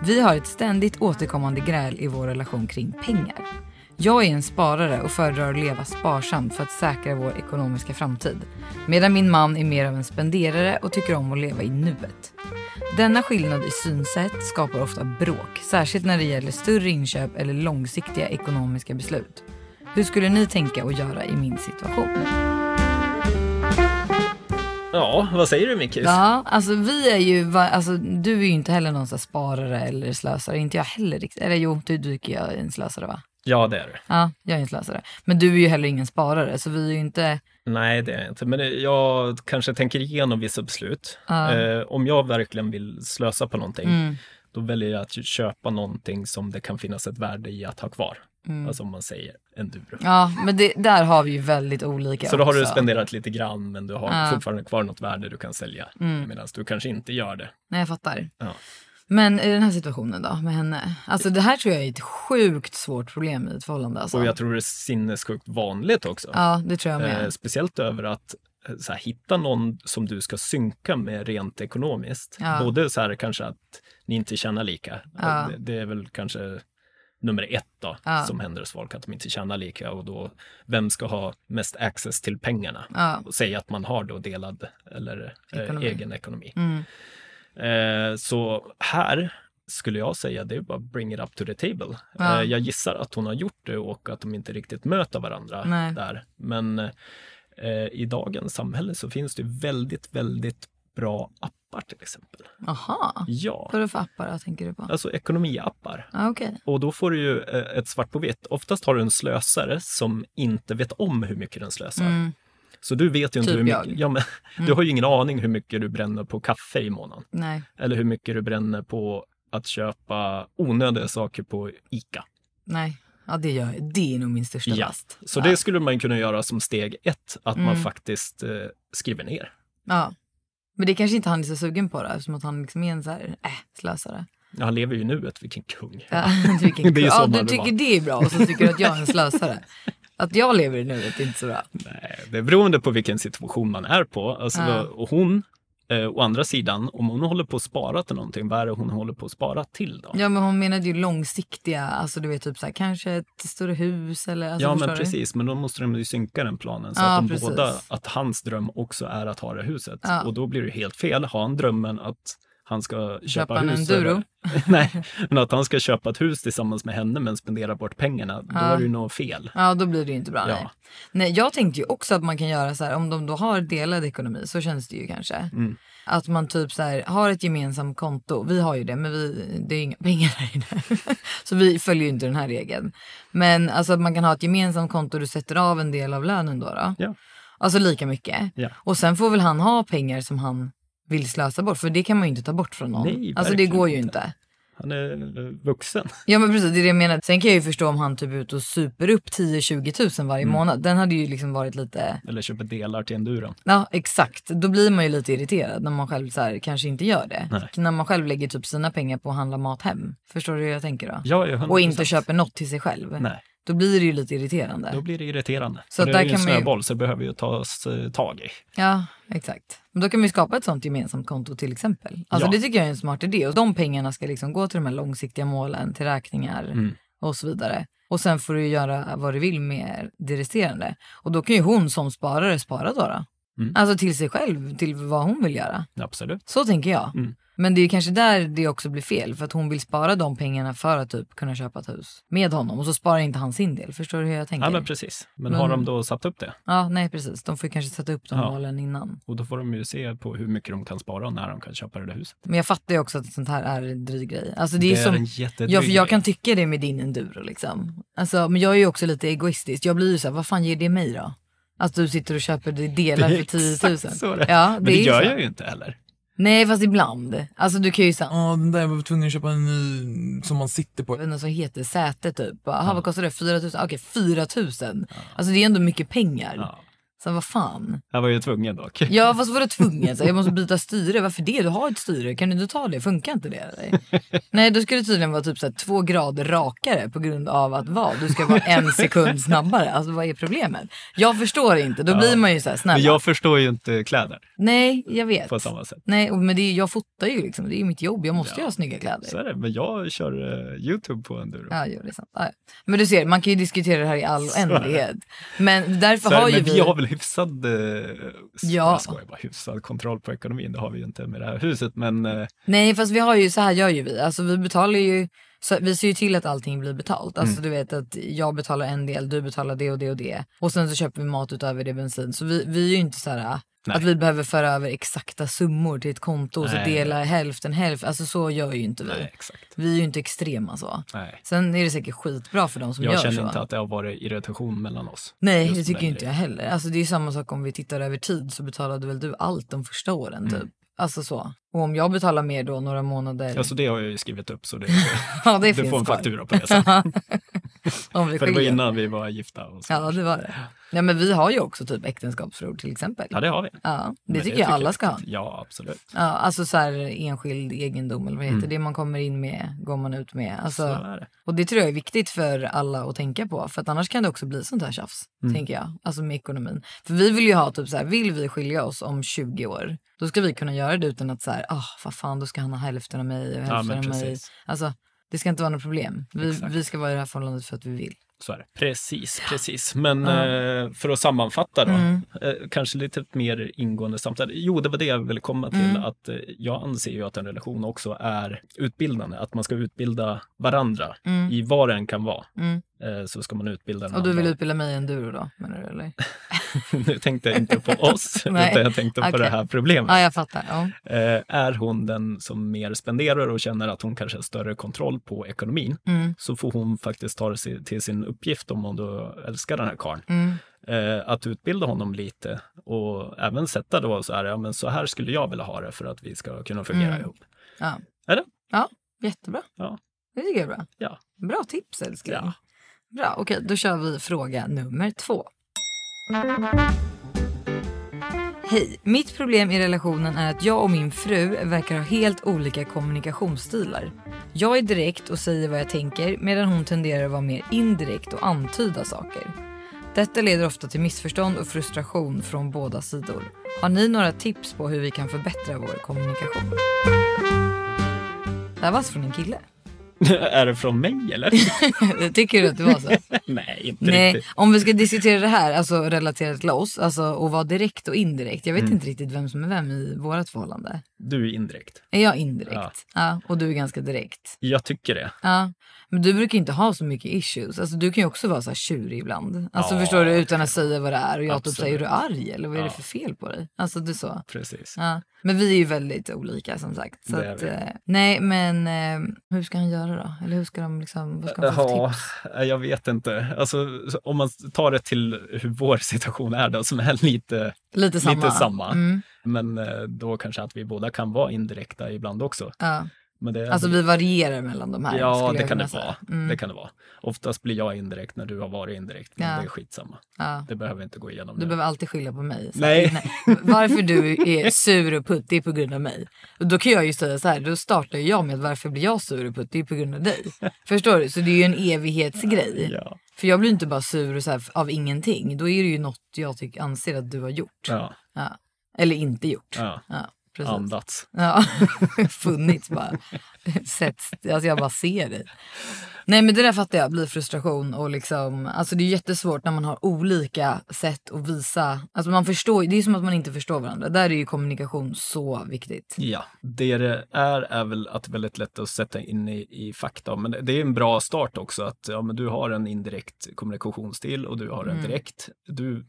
[SPEAKER 2] Vi har ett ständigt återkommande gräl i vår relation kring pengar. Jag är en sparare och föredrar att leva sparsamt för att säkra vår ekonomiska framtid. Medan min man är mer av en spenderare och tycker om att leva i nuet. Denna skillnad i synsätt skapar ofta bråk, särskilt när det gäller större inköp eller långsiktiga ekonomiska beslut. Hur skulle ni tänka och göra i min situation?
[SPEAKER 1] Ja, vad säger du Mikis?
[SPEAKER 2] Ja, alltså vi är ju, va- alltså, du är ju inte heller någon sån här sparare eller slösare, inte jag heller riktigt. Eller jo, du, du är jag en slösare va?
[SPEAKER 1] Ja, det är du.
[SPEAKER 2] Ja, jag är en slösare. Men du är ju heller ingen sparare, så vi är ju inte...
[SPEAKER 1] Nej, det är jag inte. Men eh, jag kanske tänker igenom vissa beslut.
[SPEAKER 2] Ja.
[SPEAKER 1] Eh, om jag verkligen vill slösa på någonting,
[SPEAKER 2] Mm,
[SPEAKER 1] då väljer jag att köpa någonting som det kan finnas ett värde i att ha kvar.
[SPEAKER 2] mm.
[SPEAKER 1] Alltså om man säger en dur.
[SPEAKER 2] Ja, men det, där har vi ju väldigt olika
[SPEAKER 1] Så då har
[SPEAKER 2] också.
[SPEAKER 1] du spenderat lite grann, men du har
[SPEAKER 2] Ja.
[SPEAKER 1] fortfarande kvar något värde du kan sälja.
[SPEAKER 2] Mm.
[SPEAKER 1] Medan du kanske inte gör det.
[SPEAKER 2] Nej, jag fattar.
[SPEAKER 1] Ja.
[SPEAKER 2] Men i den här situationen då, med henne. Alltså det här tror jag är ett sjukt svårt problem i ett förhållande. Alltså.
[SPEAKER 1] Och jag tror det är sinnessjukt vanligt också.
[SPEAKER 2] Ja, det tror jag med.
[SPEAKER 1] Eh, speciellt över att eh, så här, hitta någon som du ska synka med rent ekonomiskt.
[SPEAKER 2] Ja.
[SPEAKER 1] Både så här kanske att ni inte tjänar lika. Eh,
[SPEAKER 2] Ja.
[SPEAKER 1] Det, det är väl kanske nummer ett då,
[SPEAKER 2] Ja.
[SPEAKER 1] som händer hos folk, att de inte tjänar lika och då vem ska ha mest access till pengarna?
[SPEAKER 2] Ja.
[SPEAKER 1] Och säga att man har då delad eller
[SPEAKER 2] Ekonomi.
[SPEAKER 1] Eh, egen ekonomi.
[SPEAKER 2] Mm.
[SPEAKER 1] Eh, så här skulle jag säga, det är bara bring it up to the table.
[SPEAKER 2] Ja.
[SPEAKER 1] Eh, jag gissar att hon har gjort det och att de inte riktigt möter varandra
[SPEAKER 2] Nej.
[SPEAKER 1] där. Men eh, i dagens samhälle så finns det väldigt, väldigt bra appar till exempel.
[SPEAKER 2] Aha.
[SPEAKER 1] Ja,
[SPEAKER 2] Vad är det för appar då, tänker du på?
[SPEAKER 1] alltså ekonomiappar.
[SPEAKER 2] Ja, okej.
[SPEAKER 1] Och då får du ju eh, ett svart på vitt. Oftast har du en slösare som inte vet om hur mycket den slösar.
[SPEAKER 2] Mm.
[SPEAKER 1] Så du vet ju inte
[SPEAKER 2] Typ
[SPEAKER 1] hur mycket...
[SPEAKER 2] jag. Mm.
[SPEAKER 1] Ja, men, <laughs> Du har ju ingen aning hur mycket du bränner på kaffe i månaden
[SPEAKER 2] Nej.
[SPEAKER 1] eller hur mycket du bränner på att köpa onödiga saker på ICA.
[SPEAKER 2] Nej, ja, det, gör, det är nog min största
[SPEAKER 1] Ja.
[SPEAKER 2] last.
[SPEAKER 1] Så
[SPEAKER 2] ja.
[SPEAKER 1] det skulle man kunna göra som steg ett, att man
[SPEAKER 2] Mm.
[SPEAKER 1] faktiskt eh, skriver ner.
[SPEAKER 2] ja. Men det kanske inte han är så sugen på då, eftersom att han liksom är en så här, äh, slösare.
[SPEAKER 1] Ja, Han lever ju i nuet, vilken kung.
[SPEAKER 2] Ja, <laughs> vilken,
[SPEAKER 1] Det är ju
[SPEAKER 2] ja,
[SPEAKER 1] så
[SPEAKER 2] du
[SPEAKER 1] man vill
[SPEAKER 2] tycker
[SPEAKER 1] vara.
[SPEAKER 2] det är bra och så tycker du att jag är en slösare. Att jag lever i nuet är inte så bra.
[SPEAKER 1] Nej, Eh, det är beroende på vilken situation man är på. Alltså,
[SPEAKER 2] Ja.
[SPEAKER 1] Och hon, eh, å andra sidan, om hon håller på att spara till någonting, vad är det hon håller på att spara till då?
[SPEAKER 2] Ja men hon menade ju långsiktiga, alltså du vet typ så här, kanske ett större hus eller alltså,
[SPEAKER 1] Ja,
[SPEAKER 2] förstår
[SPEAKER 1] men
[SPEAKER 2] du?
[SPEAKER 1] precis, men då måste de ju synka den planen så
[SPEAKER 2] Ja,
[SPEAKER 1] att de
[SPEAKER 2] precis.
[SPEAKER 1] båda, att hans dröm också är att ha det huset.
[SPEAKER 2] Ja.
[SPEAKER 1] Och då blir det helt fel. Har han drömmen att han ska köpa,
[SPEAKER 2] Köpa en
[SPEAKER 1] hus?
[SPEAKER 2] enduro?
[SPEAKER 1] över- <laughs> Nej, men att han ska köpa ett hus tillsammans med henne men spendera bort pengarna, då
[SPEAKER 2] Ja.
[SPEAKER 1] är det ju något fel.
[SPEAKER 2] Ja då blir det ju inte bra.
[SPEAKER 1] Ja.
[SPEAKER 2] Nej. nej jag tänkte ju också att man kan göra så här om de då har delad ekonomi så känns det ju kanske.
[SPEAKER 1] Mm.
[SPEAKER 2] Att man typ så här har ett gemensamt konto. Vi har ju det men vi, det är ju inga <laughs> pengar här inne. så vi följer ju inte den här regeln. Men alltså att man kan ha ett gemensamt konto du sätter av en del av lönen då. då.
[SPEAKER 1] Ja.
[SPEAKER 2] Alltså lika mycket.
[SPEAKER 1] Ja.
[SPEAKER 2] Och sen får väl han ha pengar som han vill slösa bort för det kan man ju inte ta bort från någon.
[SPEAKER 1] Nej,
[SPEAKER 2] alltså det
[SPEAKER 1] verkligen
[SPEAKER 2] går ju
[SPEAKER 1] inte.
[SPEAKER 2] inte.
[SPEAKER 1] Han är eh, vuxen. <laughs>
[SPEAKER 2] Ja men precis, det är det jag menar. Sen kan jag ju förstå om han typ är ute och super upp 10-20 000 varje
[SPEAKER 1] Mm.
[SPEAKER 2] månad. Den hade ju liksom varit lite,
[SPEAKER 1] Eller köper delar till enduron.
[SPEAKER 2] ja exakt. Då blir man ju lite irriterad när man själv så här, kanske inte gör det.
[SPEAKER 1] Nej.
[SPEAKER 2] När man själv lägger typ sina pengar på att handla mat hem. Förstår du hur jag tänker då?
[SPEAKER 1] Ja, ja, 100%.
[SPEAKER 2] och inte köper något till sig själv.
[SPEAKER 1] Nej,
[SPEAKER 2] Då blir det ju lite irriterande.
[SPEAKER 1] då blir det irriterande.
[SPEAKER 2] Så
[SPEAKER 1] Så det
[SPEAKER 2] där
[SPEAKER 1] är ju en
[SPEAKER 2] kan man ju-
[SPEAKER 1] snöboll så det behöver ju tas eh, tag i.
[SPEAKER 2] Ja, exakt. Men då kan man ju skapa ett sånt gemensamt konto till exempel. Alltså
[SPEAKER 1] Ja.
[SPEAKER 2] det tycker jag är en smart idé. Och de pengarna ska liksom gå till de här långsiktiga målen, till räkningar
[SPEAKER 1] Mm.
[SPEAKER 2] och så vidare. Och sen får du göra vad du vill med det resterande. Och då kan ju hon som sparare spara då. då.
[SPEAKER 1] Mm.
[SPEAKER 2] Alltså till sig själv, till vad hon vill göra.
[SPEAKER 1] Absolut.
[SPEAKER 2] Så tänker jag.
[SPEAKER 1] Mm.
[SPEAKER 2] Men det är ju kanske där det också blir fel. För att hon vill spara de pengarna för att typ kunna köpa ett hus med honom. Och så sparar inte han sin del. Förstår du hur jag Mm. tänker?
[SPEAKER 1] Ja, men precis. Men har de
[SPEAKER 2] Men-
[SPEAKER 1] då satt upp det?
[SPEAKER 2] ja, nej precis. De får ju kanske sätta upp de
[SPEAKER 1] Ja.
[SPEAKER 2] målen innan.
[SPEAKER 1] Och då får de ju se på hur mycket de kan spara och när de kan köpa det där huset.
[SPEAKER 2] Men jag fattar ju också att sånt här är en dryg grej. Alltså det är,
[SPEAKER 1] Det är
[SPEAKER 2] som,
[SPEAKER 1] en jättedryg
[SPEAKER 2] ja, för jag
[SPEAKER 1] grej.
[SPEAKER 2] kan tycka det med din enduro liksom. Alltså, men jag är ju också lite egoistisk. Jag blir ju så här, vad fan ger det mig då? Att du sitter och köper det delar för 10 000.
[SPEAKER 1] så det.
[SPEAKER 2] Ja,
[SPEAKER 1] Men det
[SPEAKER 2] är
[SPEAKER 1] gör
[SPEAKER 2] så.
[SPEAKER 1] jag ju inte heller.
[SPEAKER 2] Nej, fast ibland. Alltså du kan ju säga,
[SPEAKER 3] Ja, den där jag var tvungen att köpa en ny som man sitter på.
[SPEAKER 2] något som heter säte typ. Jaha, vad kostar det? 4 000? Okej, 4 000. Alltså det är ändå mycket pengar.
[SPEAKER 1] Ja.
[SPEAKER 2] Så Så vad fan.
[SPEAKER 1] Jag var ju tvungen dock.
[SPEAKER 2] Ja fast vadå tvungen? Så här, jag måste byta styre. Varför det? Du har ett styre. Kan du inte ta det? Funkar inte det? eller? Nej då ska det tydligen vara typ så här, två grader rakare på grund av att vad? Du ska vara en sekund snabbare. Alltså vad är problemet? Jag förstår inte. Då blir man ju så här
[SPEAKER 1] <laughs>
[SPEAKER 2] snälla.
[SPEAKER 1] Men jag förstår ju inte kläder
[SPEAKER 2] Nej jag vet.
[SPEAKER 1] på samma sätt.
[SPEAKER 2] Nej och- men det är, jag fotar ju liksom. Det är ju mitt jobb. Jag måste ju ha snygga kläder.
[SPEAKER 1] Så är det, men jag kör eh, YouTube på enduro.
[SPEAKER 2] Ja, jo, det är sant. Ja, ja. Men du ser, man kan ju diskutera det här i all
[SPEAKER 1] är det.
[SPEAKER 2] oändlighet. Men därför
[SPEAKER 1] Så är
[SPEAKER 2] har
[SPEAKER 1] det,
[SPEAKER 2] ju
[SPEAKER 1] men vi
[SPEAKER 2] vi...
[SPEAKER 1] har väl hyfsad, eh,
[SPEAKER 2] Ja.
[SPEAKER 1] jag skojar bara, hyfsad kontroll på ekonomin. Det har vi ju inte med det här huset, men eh,
[SPEAKER 2] Nej, fast vi har ju, så här gör ju vi. Alltså vi betalar ju, så, vi ser ju till att allting blir betalt.
[SPEAKER 1] Mm.
[SPEAKER 2] Alltså du vet att jag betalar en del, du betalar det och det och det. Och sen så köper vi mat utöver det bensin. Så vi, vi är ju inte så här äh,
[SPEAKER 1] Nej.
[SPEAKER 2] att vi behöver föra över exakta summor till ett konto och så
[SPEAKER 1] Nej.
[SPEAKER 2] dela hälften hälften. Alltså så gör ju inte vi.
[SPEAKER 1] nej, exakt.
[SPEAKER 2] Vi är ju inte extrema så.
[SPEAKER 1] Nej.
[SPEAKER 2] Sen är det säkert skitbra för de som
[SPEAKER 1] Jag
[SPEAKER 2] gör
[SPEAKER 1] känner
[SPEAKER 2] så.
[SPEAKER 1] inte att det har varit irritation mellan oss.
[SPEAKER 2] Nej,
[SPEAKER 1] Just
[SPEAKER 2] det tycker
[SPEAKER 1] den
[SPEAKER 2] inte jag heller. Alltså, det är ju samma sak om vi tittar över tid så betalade väl du allt de första åren
[SPEAKER 1] Mm.
[SPEAKER 2] typ. Alltså så. Och om jag betalar mer då några månader.
[SPEAKER 1] Alltså det har jag ju skrivit upp så det,
[SPEAKER 2] ja, <laughs> det
[SPEAKER 1] du
[SPEAKER 2] finns
[SPEAKER 1] får en
[SPEAKER 2] kvar.
[SPEAKER 1] faktura på
[SPEAKER 2] <laughs>
[SPEAKER 1] det sen.
[SPEAKER 2] om
[SPEAKER 1] <laughs>
[SPEAKER 2] vi
[SPEAKER 1] För det var
[SPEAKER 2] skiljer.
[SPEAKER 1] innan vi var gifta. Och så.
[SPEAKER 2] Ja, det var det. Nej, men vi har ju också typ äktenskapsförord till exempel.
[SPEAKER 1] ja, det har vi.
[SPEAKER 2] Ja, det
[SPEAKER 1] Men
[SPEAKER 2] tycker jag alla ska ha.
[SPEAKER 1] viktigt. Ja, absolut.
[SPEAKER 2] Ja, alltså så här enskild egendom eller vad det heter. Det man kommer in med går man ut med.
[SPEAKER 1] Mm. Så
[SPEAKER 2] Alltså,
[SPEAKER 1] är det.
[SPEAKER 2] och det tror jag är viktigt för alla att tänka på. För att annars kan det också bli sånt här tjafs.
[SPEAKER 1] Mm.
[SPEAKER 2] Tänker jag. Alltså med ekonomin. För vi vill ju ha typ så här, vill vi skilja oss om 20 år. Då ska vi kunna göra det utan att så här, ah vad fan då ska han ha hälften av mig och
[SPEAKER 1] Ja,
[SPEAKER 2] hälften
[SPEAKER 1] men
[SPEAKER 2] av mig.
[SPEAKER 1] precis.
[SPEAKER 2] Alltså det ska inte vara något problem. Vi,
[SPEAKER 1] Exakt.
[SPEAKER 2] vi ska vara i det här förhållandet för att vi vill.
[SPEAKER 1] Så är det. Precis, precis. Men eh, för att sammanfatta då,
[SPEAKER 2] Mm.
[SPEAKER 1] eh, kanske lite mer ingående samtal. Jo, det var det jag ville komma till,
[SPEAKER 2] Mm.
[SPEAKER 1] att eh, jag anser ju att en relation också är utbildande, att man ska utbilda varandra i vad den kan vara.
[SPEAKER 2] Mm.
[SPEAKER 1] Eh, så ska man utbilda den
[SPEAKER 2] Och du vill
[SPEAKER 1] andra.
[SPEAKER 2] utbilda mig i enduro då menar du eller?
[SPEAKER 1] <laughs> nu tänkte jag inte på oss,
[SPEAKER 2] <laughs> Nej.
[SPEAKER 1] utan jag tänkte på
[SPEAKER 2] Okej.
[SPEAKER 1] det här problemet.
[SPEAKER 2] Ja ah, jag fattar. Ja.
[SPEAKER 1] Eh, är hon den som mer spenderar och känner att hon kanske har större kontroll på ekonomin,
[SPEAKER 2] Mm.
[SPEAKER 1] så får hon faktiskt ta det si- till sin uppgift om hon då älskar den här karln.
[SPEAKER 2] Mm.
[SPEAKER 1] Eh, att utbilda honom lite och även sätta då så här, ja men så här skulle jag vilja ha det för att vi ska kunna fungera
[SPEAKER 2] Mm.
[SPEAKER 1] ihop.
[SPEAKER 2] Ja.
[SPEAKER 1] Eller?
[SPEAKER 2] Ja, jättebra.
[SPEAKER 1] Ja.
[SPEAKER 2] Det tycker jag är bra.
[SPEAKER 1] Ja. <laughs>
[SPEAKER 2] Bra tips älskling.
[SPEAKER 1] Ja.
[SPEAKER 2] Bra, okej då kör vi fråga nummer två. Hej, mitt problem i relationen är att jag och min fru verkar ha helt olika kommunikationsstilar. Jag är direkt och säger vad jag tänker medan hon tenderar att vara mer indirekt och antyda saker. Detta leder ofta till missförstånd och frustration från båda sidor. Har ni några tips på hur vi kan förbättra vår kommunikation? Det här var alltså från en kille.
[SPEAKER 1] är det från mig eller? <laughs>
[SPEAKER 2] <laughs> Tycker du att det var så?
[SPEAKER 1] Nej, inte
[SPEAKER 2] Nej,
[SPEAKER 1] riktigt.
[SPEAKER 2] om vi ska diskutera det här, alltså relaterat till oss, alltså och vara direkt och indirekt. Jag vet
[SPEAKER 1] Mm.
[SPEAKER 2] inte riktigt vem som är vem i vårat förhållande.
[SPEAKER 1] Du är indirekt.
[SPEAKER 2] Är jag indirekt? Ja. och du är ganska direkt.
[SPEAKER 1] Jag tycker det.
[SPEAKER 2] Ja. Men du brukar inte ha så mycket issues. Alltså du kan ju också vara så här tjurig ibland. Alltså
[SPEAKER 1] Ja.
[SPEAKER 2] förstår du, utan att säga vad det är. Och jag typ
[SPEAKER 1] Absolut.
[SPEAKER 2] säger, är du arg eller vad är det
[SPEAKER 1] Ja.
[SPEAKER 2] för fel på dig? Alltså det är så.
[SPEAKER 1] Precis.
[SPEAKER 2] Ja. Men vi är ju väldigt olika som sagt. Så
[SPEAKER 1] Det är
[SPEAKER 2] att,
[SPEAKER 1] vi.
[SPEAKER 2] eh, nej men eh, hur ska han göra då? Eller hur ska de liksom, vad ska han få för
[SPEAKER 1] Ja,
[SPEAKER 2] tips?
[SPEAKER 1] jag vet inte. Alltså, så om man tar det till hur vår situation är då, som är lite,
[SPEAKER 2] Lite samma.
[SPEAKER 1] lite samma.
[SPEAKER 2] Mm.
[SPEAKER 1] Men eh, då kanske att vi båda kan vara indirekta ibland också.
[SPEAKER 2] Ja.
[SPEAKER 1] Men det,
[SPEAKER 2] Alltså vi varierar mellan de här.
[SPEAKER 1] ja,
[SPEAKER 2] skulle
[SPEAKER 1] det
[SPEAKER 2] jag
[SPEAKER 1] kan
[SPEAKER 2] kunna
[SPEAKER 1] det,
[SPEAKER 2] säga.
[SPEAKER 1] vara.
[SPEAKER 2] Mm.
[SPEAKER 1] det kan det vara. Oftast blir jag indirekt när du har varit indirekt, men
[SPEAKER 2] Ja.
[SPEAKER 1] det är skitsamma.
[SPEAKER 2] Ja.
[SPEAKER 1] Det behöver vi inte gå igenom
[SPEAKER 2] Du
[SPEAKER 1] nu.
[SPEAKER 2] behöver alltid skylla på mig. Så
[SPEAKER 1] Mm. Nej.
[SPEAKER 2] här, Varför du är sur och putt, det är på grund av mig. Och då kan jag ju säga så här, då startar jag med varför blir jag sur och putt, det är på grund av dig. Förstår du? Så det är ju en evighetsgrej.
[SPEAKER 1] Ja.
[SPEAKER 2] För jag blir inte bara sur och så här, av ingenting. Då är det ju något jag tycker, anser att du har gjort.
[SPEAKER 1] Ja,
[SPEAKER 2] Ja. Eller inte gjort.
[SPEAKER 1] ja.
[SPEAKER 2] Ja, precis.
[SPEAKER 1] Andats.
[SPEAKER 2] Ja, <laughs> funnits bara. Sett, alltså jag bara ser dig. Nej men det där fattar jag, blir frustration och liksom, alltså det är jättesvårt när man har olika sätt att visa, alltså man förstår, det är som att man inte förstår varandra. Där är ju kommunikation så viktigt.
[SPEAKER 1] Ja, det det är är väl att väldigt lätt att sätta in i, i fakta. Men det- det är en bra start också att ja, men du har en indirekt kommunikationsstil och du har en
[SPEAKER 2] Mm.
[SPEAKER 1] direkt. Du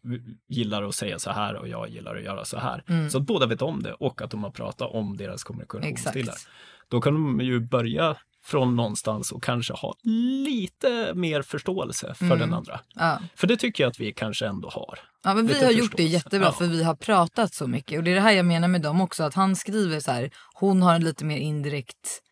[SPEAKER 1] gillar att säga så här och jag gillar att göra så här.
[SPEAKER 2] Mm.
[SPEAKER 1] Så att båda vet om det och att de har pratat om deras kommunikationsstilar.
[SPEAKER 2] Exakt.
[SPEAKER 1] Då kan de ju börja från någonstans och kanske ha lite mer förståelse för den andra.
[SPEAKER 2] Mm. Ja.
[SPEAKER 1] För det tycker jag att vi kanske ändå har.
[SPEAKER 2] Ja, men vi
[SPEAKER 1] Lite
[SPEAKER 2] har gjort det
[SPEAKER 1] förståelse.
[SPEAKER 2] jättebra
[SPEAKER 1] Ja.
[SPEAKER 2] för vi har pratat så mycket. Och det är det här jag menar med dem också. Att han skriver så här, hon har en lite mer indirekt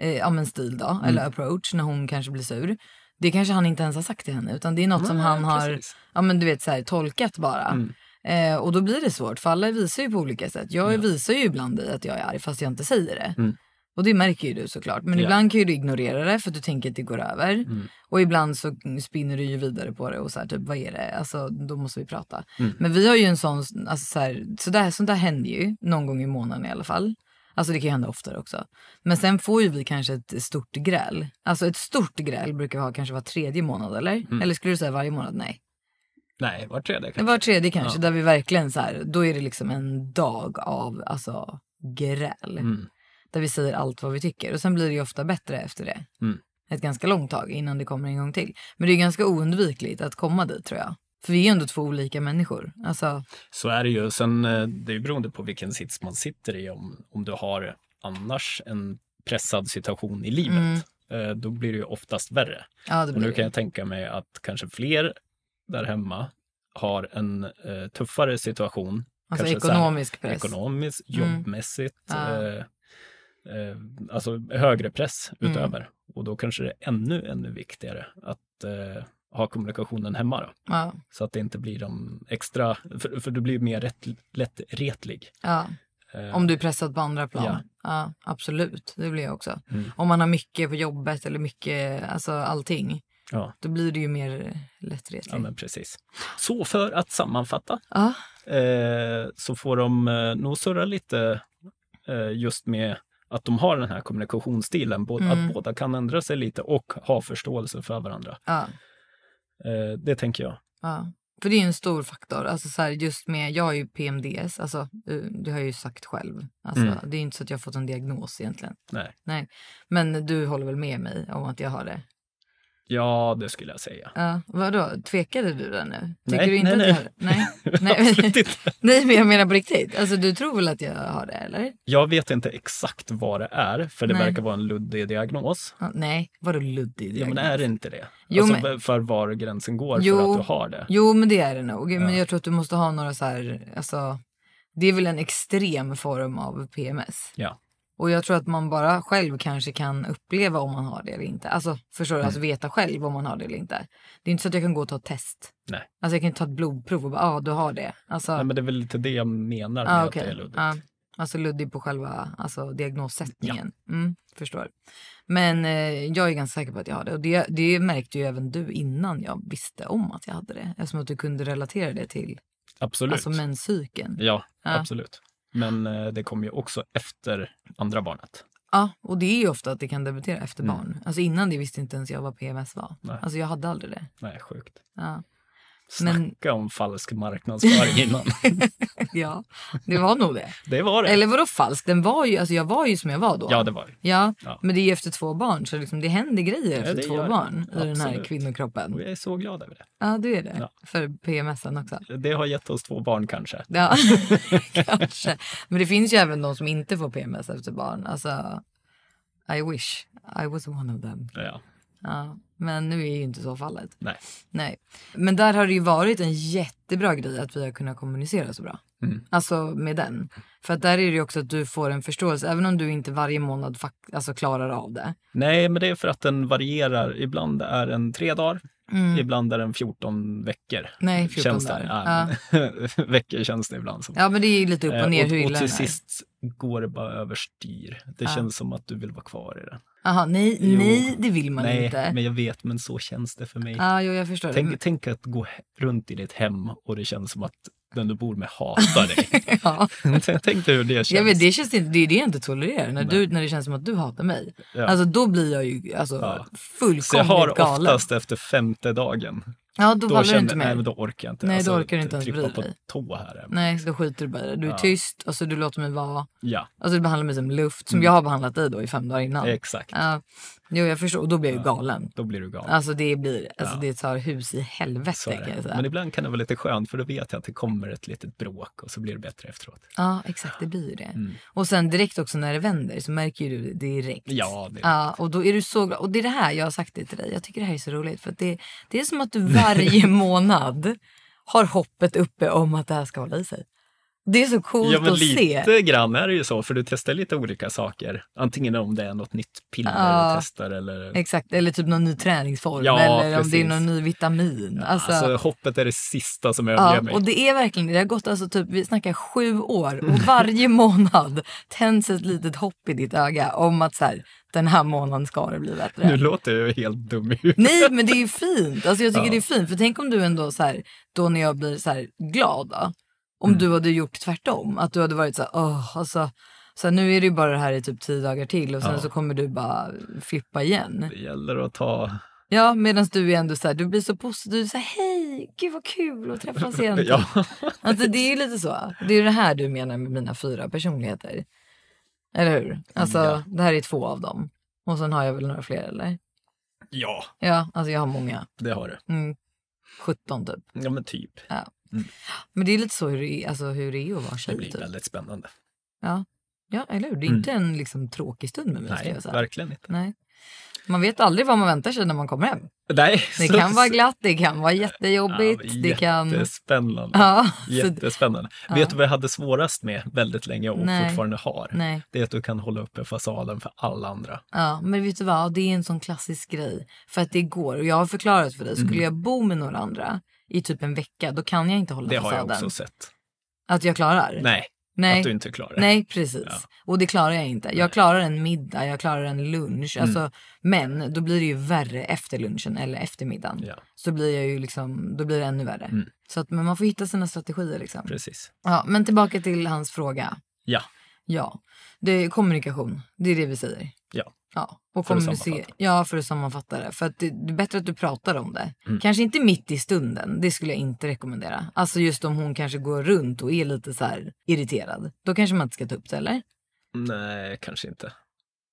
[SPEAKER 2] eh, ja, men stil då,
[SPEAKER 1] Mm.
[SPEAKER 2] eller approach när hon kanske blir sur. Det kanske han inte ens har sagt till henne utan det är något som
[SPEAKER 1] Nej,
[SPEAKER 2] han har
[SPEAKER 1] precis. Mm.
[SPEAKER 2] ja, men du vet, så här, tolkat bara. Eh, och då blir det svårt, för alla visar ju på olika sätt. Jag visar ju ibland dig att jag är arg fast jag inte säger det.
[SPEAKER 1] Mm.
[SPEAKER 2] Och det märker ju du såklart. Men
[SPEAKER 1] Ja.
[SPEAKER 2] ibland kan ju du ignorera det för att du tänker att det går över. Och ibland så spinner du ju vidare på det och så här, typ vad är det? Alltså då måste vi prata. Men vi har ju en sån, alltså så här, så där, sånt där händer ju någon gång i månaden i alla fall. Alltså det kan ju hända oftare också. Men sen får ju vi kanske ett stort gräl. Alltså ett stort gräl brukar vi ha kanske var tredje månad eller? Eller skulle du säga varje månad? Nej.
[SPEAKER 1] Nej, var tredje kanske.
[SPEAKER 2] Var tredje kanske, där vi verkligen så här, då är det liksom en dag av alltså, gräl.
[SPEAKER 1] Mm.
[SPEAKER 2] Där vi säger allt vad vi tycker och sen blir det ju ofta bättre efter det.
[SPEAKER 1] Mm.
[SPEAKER 2] Ett ganska långt tag innan det kommer en gång till. Men det är ganska oundvikligt att komma dit tror jag. För vi är ju ändå två olika människor. Alltså,
[SPEAKER 1] Så är det ju. Sen, eh, det är ju beroende på vilken sits man sitter i. Om, om du har annars en pressad situation i livet, eh, då blir det ju oftast värre.
[SPEAKER 2] ja Mm. det
[SPEAKER 1] Och nu
[SPEAKER 2] blir
[SPEAKER 1] kan
[SPEAKER 2] det.
[SPEAKER 1] jag tänka mig att kanske fler där hemma har en eh, tuffare situation.
[SPEAKER 2] Alltså
[SPEAKER 1] Kanske så här-
[SPEAKER 2] ekonomisk press.
[SPEAKER 1] ekonomiskt,
[SPEAKER 2] Mm.
[SPEAKER 1] jobbmässigt,
[SPEAKER 2] Ja.
[SPEAKER 1] eh, eh, alltså högre press
[SPEAKER 2] Mm.
[SPEAKER 1] utöver. Och då kanske det är ännu, ännu viktigare att eh, ha kommunikationen hemma då.
[SPEAKER 2] Ja,
[SPEAKER 1] Så att det inte blir de extra, för, för du blir mer rätt, lättretlig.
[SPEAKER 2] ja.
[SPEAKER 1] Eh,
[SPEAKER 2] Om du är pressad på andra plan. Ja.
[SPEAKER 1] Ja.
[SPEAKER 2] absolut, det blir jag också.
[SPEAKER 1] Mm.
[SPEAKER 2] Om man har mycket på jobbet eller mycket, alltså allting.
[SPEAKER 1] Ja,
[SPEAKER 2] Då blir det ju mer lättretligt.
[SPEAKER 1] ja men precis. Så för att sammanfatta
[SPEAKER 2] Ja,
[SPEAKER 1] eh, så får de eh, nog surra lite eh, just med att de har den här kommunikationsstilen, både,
[SPEAKER 2] Mm.
[SPEAKER 1] att båda kan ändra sig lite och ha förståelse för varandra.
[SPEAKER 2] ja,
[SPEAKER 1] Eh, det tänker jag.
[SPEAKER 2] ja. För det är ju en stor faktor. Alltså så här, just med, jag har ju PMDS, alltså, eh, det har jag ju sagt själv. Alltså,
[SPEAKER 1] Mm.
[SPEAKER 2] Det är ju inte så att jag har fått en diagnos egentligen.
[SPEAKER 1] Nej.
[SPEAKER 2] Nej. Men du håller väl med mig om att jag har det?
[SPEAKER 1] Ja, det skulle jag säga.
[SPEAKER 2] Ja, vadå, tvekade du där nu? Tycker
[SPEAKER 1] Nej,
[SPEAKER 2] du inte
[SPEAKER 1] nej,
[SPEAKER 2] att jag har det? Nej,
[SPEAKER 1] <laughs>
[SPEAKER 2] nej.
[SPEAKER 1] Absolut inte.
[SPEAKER 2] nej, men jag menar på riktigt. Alltså du tror väl att jag har det eller?
[SPEAKER 1] Jag vet inte exakt vad det är, för det
[SPEAKER 2] Nej.
[SPEAKER 1] verkar vara en luddig diagnos.
[SPEAKER 2] Ja, nej, vadå luddig
[SPEAKER 1] Ja, men
[SPEAKER 2] diagnos?
[SPEAKER 1] är det inte det?
[SPEAKER 2] Jo,
[SPEAKER 1] alltså,
[SPEAKER 2] men-
[SPEAKER 1] För var gränsen går för
[SPEAKER 2] Jo.
[SPEAKER 1] att du har det.
[SPEAKER 2] Jo, men det är det nog. Men jag tror att du måste ha några så här, alltså, det är väl en extrem form av PMS.
[SPEAKER 1] Ja.
[SPEAKER 2] Och jag tror att man bara själv kanske kan uppleva om man har det eller inte. Alltså förstår du,
[SPEAKER 1] Mm.
[SPEAKER 2] alltså veta själv om man har det eller inte. Det är inte så att jag kan gå och ta ett test.
[SPEAKER 1] Nej.
[SPEAKER 2] Alltså jag kan inte ta ett blodprov och bara, ja ah, du har det. Alltså,
[SPEAKER 1] Nej, men det är väl lite det jag menar med
[SPEAKER 2] ah,
[SPEAKER 1] att det
[SPEAKER 2] okej.
[SPEAKER 1] är luddigt.
[SPEAKER 2] Ja. Alltså luddig på själva alltså, diagnossättningen. Mm, förstår. Men eh, jag är ganska säker på att jag har det. Och det, det märkte ju även du innan jag visste om att jag hade det. Eftersom att du kunde relatera det till
[SPEAKER 1] Absolut.
[SPEAKER 2] alltså, Ah. menscykeln. Ja.
[SPEAKER 1] Ja,
[SPEAKER 2] Ja.
[SPEAKER 1] absolut. Men eh, det kommer ju också efter andra barnet.
[SPEAKER 2] och det är ju ofta att det kan debutera efter barn. Alltså innan det visste inte ens jag vad PMS var.
[SPEAKER 1] Mm. Nej.
[SPEAKER 2] Alltså jag hade aldrig det.
[SPEAKER 1] Nej, sjukt.
[SPEAKER 2] Ja. Men-
[SPEAKER 1] Snacka om falsk marknadsföring
[SPEAKER 2] <laughs>
[SPEAKER 1] innan.
[SPEAKER 2] ja, det var nog det.
[SPEAKER 1] Det var det.
[SPEAKER 2] Eller vadå falskt? Den var ju, alltså jag var ju som jag var då.
[SPEAKER 1] Ja, det var det.
[SPEAKER 2] Ja,
[SPEAKER 1] Ja.
[SPEAKER 2] men det är ju efter två barn så liksom det händer grejer efter
[SPEAKER 1] det
[SPEAKER 2] två
[SPEAKER 1] gör det.
[SPEAKER 2] barn i den här
[SPEAKER 1] Absolut. Och
[SPEAKER 2] kvinnokroppen.
[SPEAKER 1] jag är så glad över det.
[SPEAKER 2] Ja, du är det.
[SPEAKER 1] Ja.
[SPEAKER 2] För PMSen också.
[SPEAKER 1] Det har gett oss två barn kanske. <laughs>
[SPEAKER 2] Ja, kanske. Men det finns ju även de som inte får PMS efter barn. Alltså, I wish I was one of them.
[SPEAKER 1] Ja,
[SPEAKER 2] Ja, men nu är ju inte så fallet.
[SPEAKER 1] nej.
[SPEAKER 2] Nej. Men där har det ju varit en jättebra grej att vi har kunnat kommunicera så bra.
[SPEAKER 1] Mm.
[SPEAKER 2] Alltså med den. För att där är det ju också att du får en förståelse. Även om du inte varje månad fak- alltså klarar av det.
[SPEAKER 1] Nej, men det är för att den varierar. Ibland är den tre dagar, ibland är den 14 veckor.
[SPEAKER 2] Mm. Nej, 14
[SPEAKER 1] känns
[SPEAKER 2] dagar.
[SPEAKER 1] Det. Ja, men- <laughs> veckor känns det ibland som.
[SPEAKER 2] Ja men det är ju lite upp
[SPEAKER 1] Eh,
[SPEAKER 2] och ner hur
[SPEAKER 1] och, och
[SPEAKER 2] illa
[SPEAKER 1] till
[SPEAKER 2] den är.
[SPEAKER 1] sist går det bara överstyr. Det känns som att du vill vara kvar i den.
[SPEAKER 2] Jaha, nej,
[SPEAKER 1] Jo.
[SPEAKER 2] nej det vill man
[SPEAKER 1] Nej,
[SPEAKER 2] inte.
[SPEAKER 1] men jag vet, men så känns det för mig.
[SPEAKER 2] Ja, jo, jag förstår. det.
[SPEAKER 1] Tänk, tänk att gå he- runt i ditt hem och det känns som att den du bor med hatar dig.
[SPEAKER 2] <laughs> <laughs> Ja.
[SPEAKER 1] Tänk- tänk dig hur det känns.
[SPEAKER 2] Jag vet, det, känns inte, det är det jag inte tolererar, när, du, när det känns som att du hatar mig.
[SPEAKER 1] Ja.
[SPEAKER 2] Alltså då blir jag ju alltså,
[SPEAKER 1] Ja.
[SPEAKER 2] fullkomligt
[SPEAKER 1] så jag har
[SPEAKER 2] galen.
[SPEAKER 1] oftast efter femte dagen,
[SPEAKER 2] ja, då,
[SPEAKER 1] då,
[SPEAKER 2] faller du
[SPEAKER 1] känner,
[SPEAKER 2] inte med.
[SPEAKER 1] nej, men då orkar jag inte.
[SPEAKER 2] Nej, då orkar du inte ens
[SPEAKER 1] trippa
[SPEAKER 2] bry
[SPEAKER 1] på
[SPEAKER 2] dig.
[SPEAKER 1] tå här. hemma.
[SPEAKER 2] Nej, då skiter du bara i det. Du är tyst, alltså, du låter mig vara.
[SPEAKER 1] Ja,
[SPEAKER 2] Alltså du behandlar mig som luft, som jag har behandlat dig då i fem dagar innan.
[SPEAKER 1] Mm. exakt.
[SPEAKER 2] Ja. Jo, jag förstår. Och då blir jag ju galen.
[SPEAKER 1] Då blir du galen.
[SPEAKER 2] Alltså det blir, alltså
[SPEAKER 1] Ja.
[SPEAKER 2] det tar hus i helvete
[SPEAKER 1] Så är
[SPEAKER 2] kan jag
[SPEAKER 1] det.
[SPEAKER 2] säga.
[SPEAKER 1] Men ibland kan det vara lite skönt för då vet jag att det kommer ett litet bråk och så blir det bättre efteråt.
[SPEAKER 2] Ja, exakt. Det blir ju det.
[SPEAKER 1] Mm.
[SPEAKER 2] Och sen direkt också när det vänder så märker ju du det direkt.
[SPEAKER 1] Ja, det-
[SPEAKER 2] Ja, och då är du så glad. Och det är det här jag har sagt det till dig. Jag tycker det här är så roligt. För att det, det
[SPEAKER 1] <laughs>
[SPEAKER 2] är som att du varje månad har hoppet uppe om att det här ska hålla i sig. Det är så coolt
[SPEAKER 1] Ja, men
[SPEAKER 2] att se.
[SPEAKER 1] lite grann är det ju så, för du testar lite olika saker. Antingen om det är något nytt piller
[SPEAKER 2] Ja.
[SPEAKER 1] du testar eller...
[SPEAKER 2] Exakt, eller typ någon ny träningsform
[SPEAKER 1] Ja,
[SPEAKER 2] eller om det är
[SPEAKER 1] precis.
[SPEAKER 2] någon ny vitamin. Alltså,
[SPEAKER 1] Alltså, hoppet är det sista som överger
[SPEAKER 2] ja,
[SPEAKER 1] mig.
[SPEAKER 2] och det är verkligen det. Det har gått alltså typ, vi snackar sju år
[SPEAKER 1] Mm.
[SPEAKER 2] och varje <laughs> månad tänds ett litet hopp i ditt öga om att så här, den här månaden ska det bli bättre.
[SPEAKER 1] Nu låter jag ju helt dum i huvudet.
[SPEAKER 2] Nej men det är ju fint. Alltså jag tycker det är fint. För tänk om du ändå så här, då när jag blir så här glad då, Om
[SPEAKER 1] Mm.
[SPEAKER 2] du hade gjort tvärtom. Att du hade varit så här, åh alltså. Så här, nu är det ju bara det här i typ tio dagar till och sen
[SPEAKER 1] Ja.
[SPEAKER 2] så kommer du bara flippa igen.
[SPEAKER 1] Det gäller att ta...
[SPEAKER 2] Ja, medan du är ändå så här, du blir så positiv. Du är så här, hej, gud vad kul att träffas igen.
[SPEAKER 1] <laughs> Ja,
[SPEAKER 2] Alltså det är ju lite så. Det är ju det här du menar med mina fyra personligheter. Eller hur? Alltså
[SPEAKER 1] Ja.
[SPEAKER 2] det här är två av dem. Och sen har jag väl några fler eller?
[SPEAKER 1] ja,
[SPEAKER 2] Ja, alltså jag har många.
[SPEAKER 1] det har du.
[SPEAKER 2] Mm. 17 typ.
[SPEAKER 1] Ja, men typ.
[SPEAKER 2] Men det är lite så hur det är, alltså, hur det är att vara
[SPEAKER 1] Det
[SPEAKER 2] tjej.
[SPEAKER 1] blir
[SPEAKER 2] Typ.
[SPEAKER 1] väldigt spännande.
[SPEAKER 2] Ja. ja, eller hur? Det är inte en liksom, tråkig stund med mig skulle
[SPEAKER 1] Nej,
[SPEAKER 2] jag säga.
[SPEAKER 1] verkligen inte.
[SPEAKER 2] Nej. Man vet aldrig vad man väntar sig när man kommer hem.
[SPEAKER 1] Nej,
[SPEAKER 2] Det
[SPEAKER 1] så-
[SPEAKER 2] kan vara glatt, det kan vara
[SPEAKER 1] Ja,
[SPEAKER 2] jättejobbigt, det kan...
[SPEAKER 1] Jättespännande.
[SPEAKER 2] Ja, så,
[SPEAKER 1] Jättespännande. Vet du vad jag hade svårast med väldigt länge och
[SPEAKER 2] Nej.
[SPEAKER 1] fortfarande har?
[SPEAKER 2] nej.
[SPEAKER 1] Det är att du kan hålla uppe fasaden för alla andra.
[SPEAKER 2] Ja, men vet du vad, det är en sån klassisk grej. För att det går, och jag har förklarat för dig,
[SPEAKER 1] Mhm.
[SPEAKER 2] skulle jag bo med några andra i typ en vecka, då kan jag inte hålla
[SPEAKER 1] Det har jag
[SPEAKER 2] fasaden.
[SPEAKER 1] också sett.
[SPEAKER 2] Att jag klarar?
[SPEAKER 1] Nej,
[SPEAKER 2] Nej.
[SPEAKER 1] att du inte klarar det.
[SPEAKER 2] Nej, precis.
[SPEAKER 1] Ja.
[SPEAKER 2] Och det klarar jag inte. Jag klarar en middag, jag klarar en lunch.
[SPEAKER 1] Mm.
[SPEAKER 2] Alltså, men då blir det ju värre efter lunchen eller eftermiddagen.
[SPEAKER 1] Ja.
[SPEAKER 2] Så blir jag ju liksom, då blir det ännu värre.
[SPEAKER 1] Mm.
[SPEAKER 2] Så att, men man får hitta sina strategier liksom.
[SPEAKER 1] Precis.
[SPEAKER 2] Ja, men tillbaka till hans fråga.
[SPEAKER 1] Ja,
[SPEAKER 2] Ja, det är kommunikation. Det är det vi säger.
[SPEAKER 1] ja.
[SPEAKER 2] Ja, och
[SPEAKER 1] För att
[SPEAKER 2] kommunicera.
[SPEAKER 1] sammanfatta.
[SPEAKER 2] Ja, för att sammanfatta det. För att det, det är bättre att du pratar om det.
[SPEAKER 1] Mm.
[SPEAKER 2] Kanske inte mitt i stunden, det skulle jag inte rekommendera. Alltså just om hon kanske går runt och är lite så här irriterad. Då kanske man inte ska ta upp det, eller?
[SPEAKER 1] Nej, kanske inte.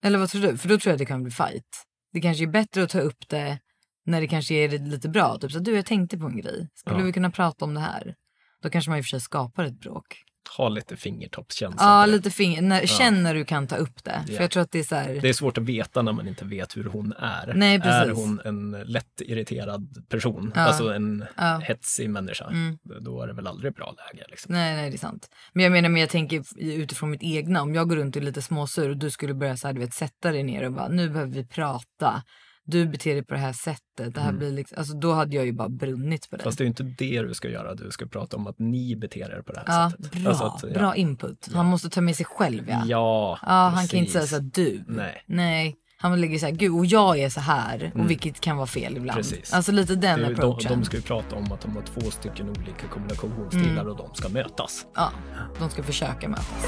[SPEAKER 2] Eller vad tror du? För då tror jag att det kan bli fight. Det kanske är bättre att ta upp det när det kanske är lite bra. Typ så här, du jag tänkte på en grej. Skulle
[SPEAKER 1] Ja.
[SPEAKER 2] vi kunna prata om det här? Då kanske man i och för sig skapar ett bråk.
[SPEAKER 1] Ha lite fingertoppskänsla.
[SPEAKER 2] Ja,
[SPEAKER 1] på det.
[SPEAKER 2] lite finger. När, Känn när du kan ta upp det. För
[SPEAKER 1] Ja.
[SPEAKER 2] jag tror att det är så här.
[SPEAKER 1] Det är svårt att veta när man inte vet hur hon är.
[SPEAKER 2] Nej,
[SPEAKER 1] Är
[SPEAKER 2] precis.
[SPEAKER 1] hon en lätt irriterad person, alltså en hetsig människa,
[SPEAKER 2] Mm.
[SPEAKER 1] då är det väl aldrig bra läge. Liksom.
[SPEAKER 2] Nej, nej, det är sant. Men jag menar, men jag tänker f- utifrån mitt egna. Om jag går runt och är lite småsur och du skulle börja så här, du vet, sätta dig ner och bara, nu behöver vi prata. Du beter dig på det här sättet. Det här blir liksom, alltså, då hade jag ju bara brunnit på dig.
[SPEAKER 1] Mm. Fast det är ju inte det du ska göra, du ska prata om att ni beter er på det här
[SPEAKER 2] ja,
[SPEAKER 1] sättet.
[SPEAKER 2] bra,
[SPEAKER 1] Alltså att, ja.
[SPEAKER 2] bra input. Han måste ta med sig själv, ja.
[SPEAKER 1] Ja,
[SPEAKER 2] Ja, han kan inte säga
[SPEAKER 1] precis.
[SPEAKER 2] så här, du.
[SPEAKER 1] Nej. Mm.
[SPEAKER 2] nej. Han lägger så här, gud, och jag är så här, och vilket kan vara fel ibland.
[SPEAKER 1] Precis.
[SPEAKER 2] Alltså lite den
[SPEAKER 1] Det är ju- de,
[SPEAKER 2] approachen.
[SPEAKER 1] de ska ju prata om att de har två stycken olika kommunikationsstilar
[SPEAKER 2] Mm.
[SPEAKER 1] och de ska mötas.
[SPEAKER 2] Ja, de ska försöka mötas.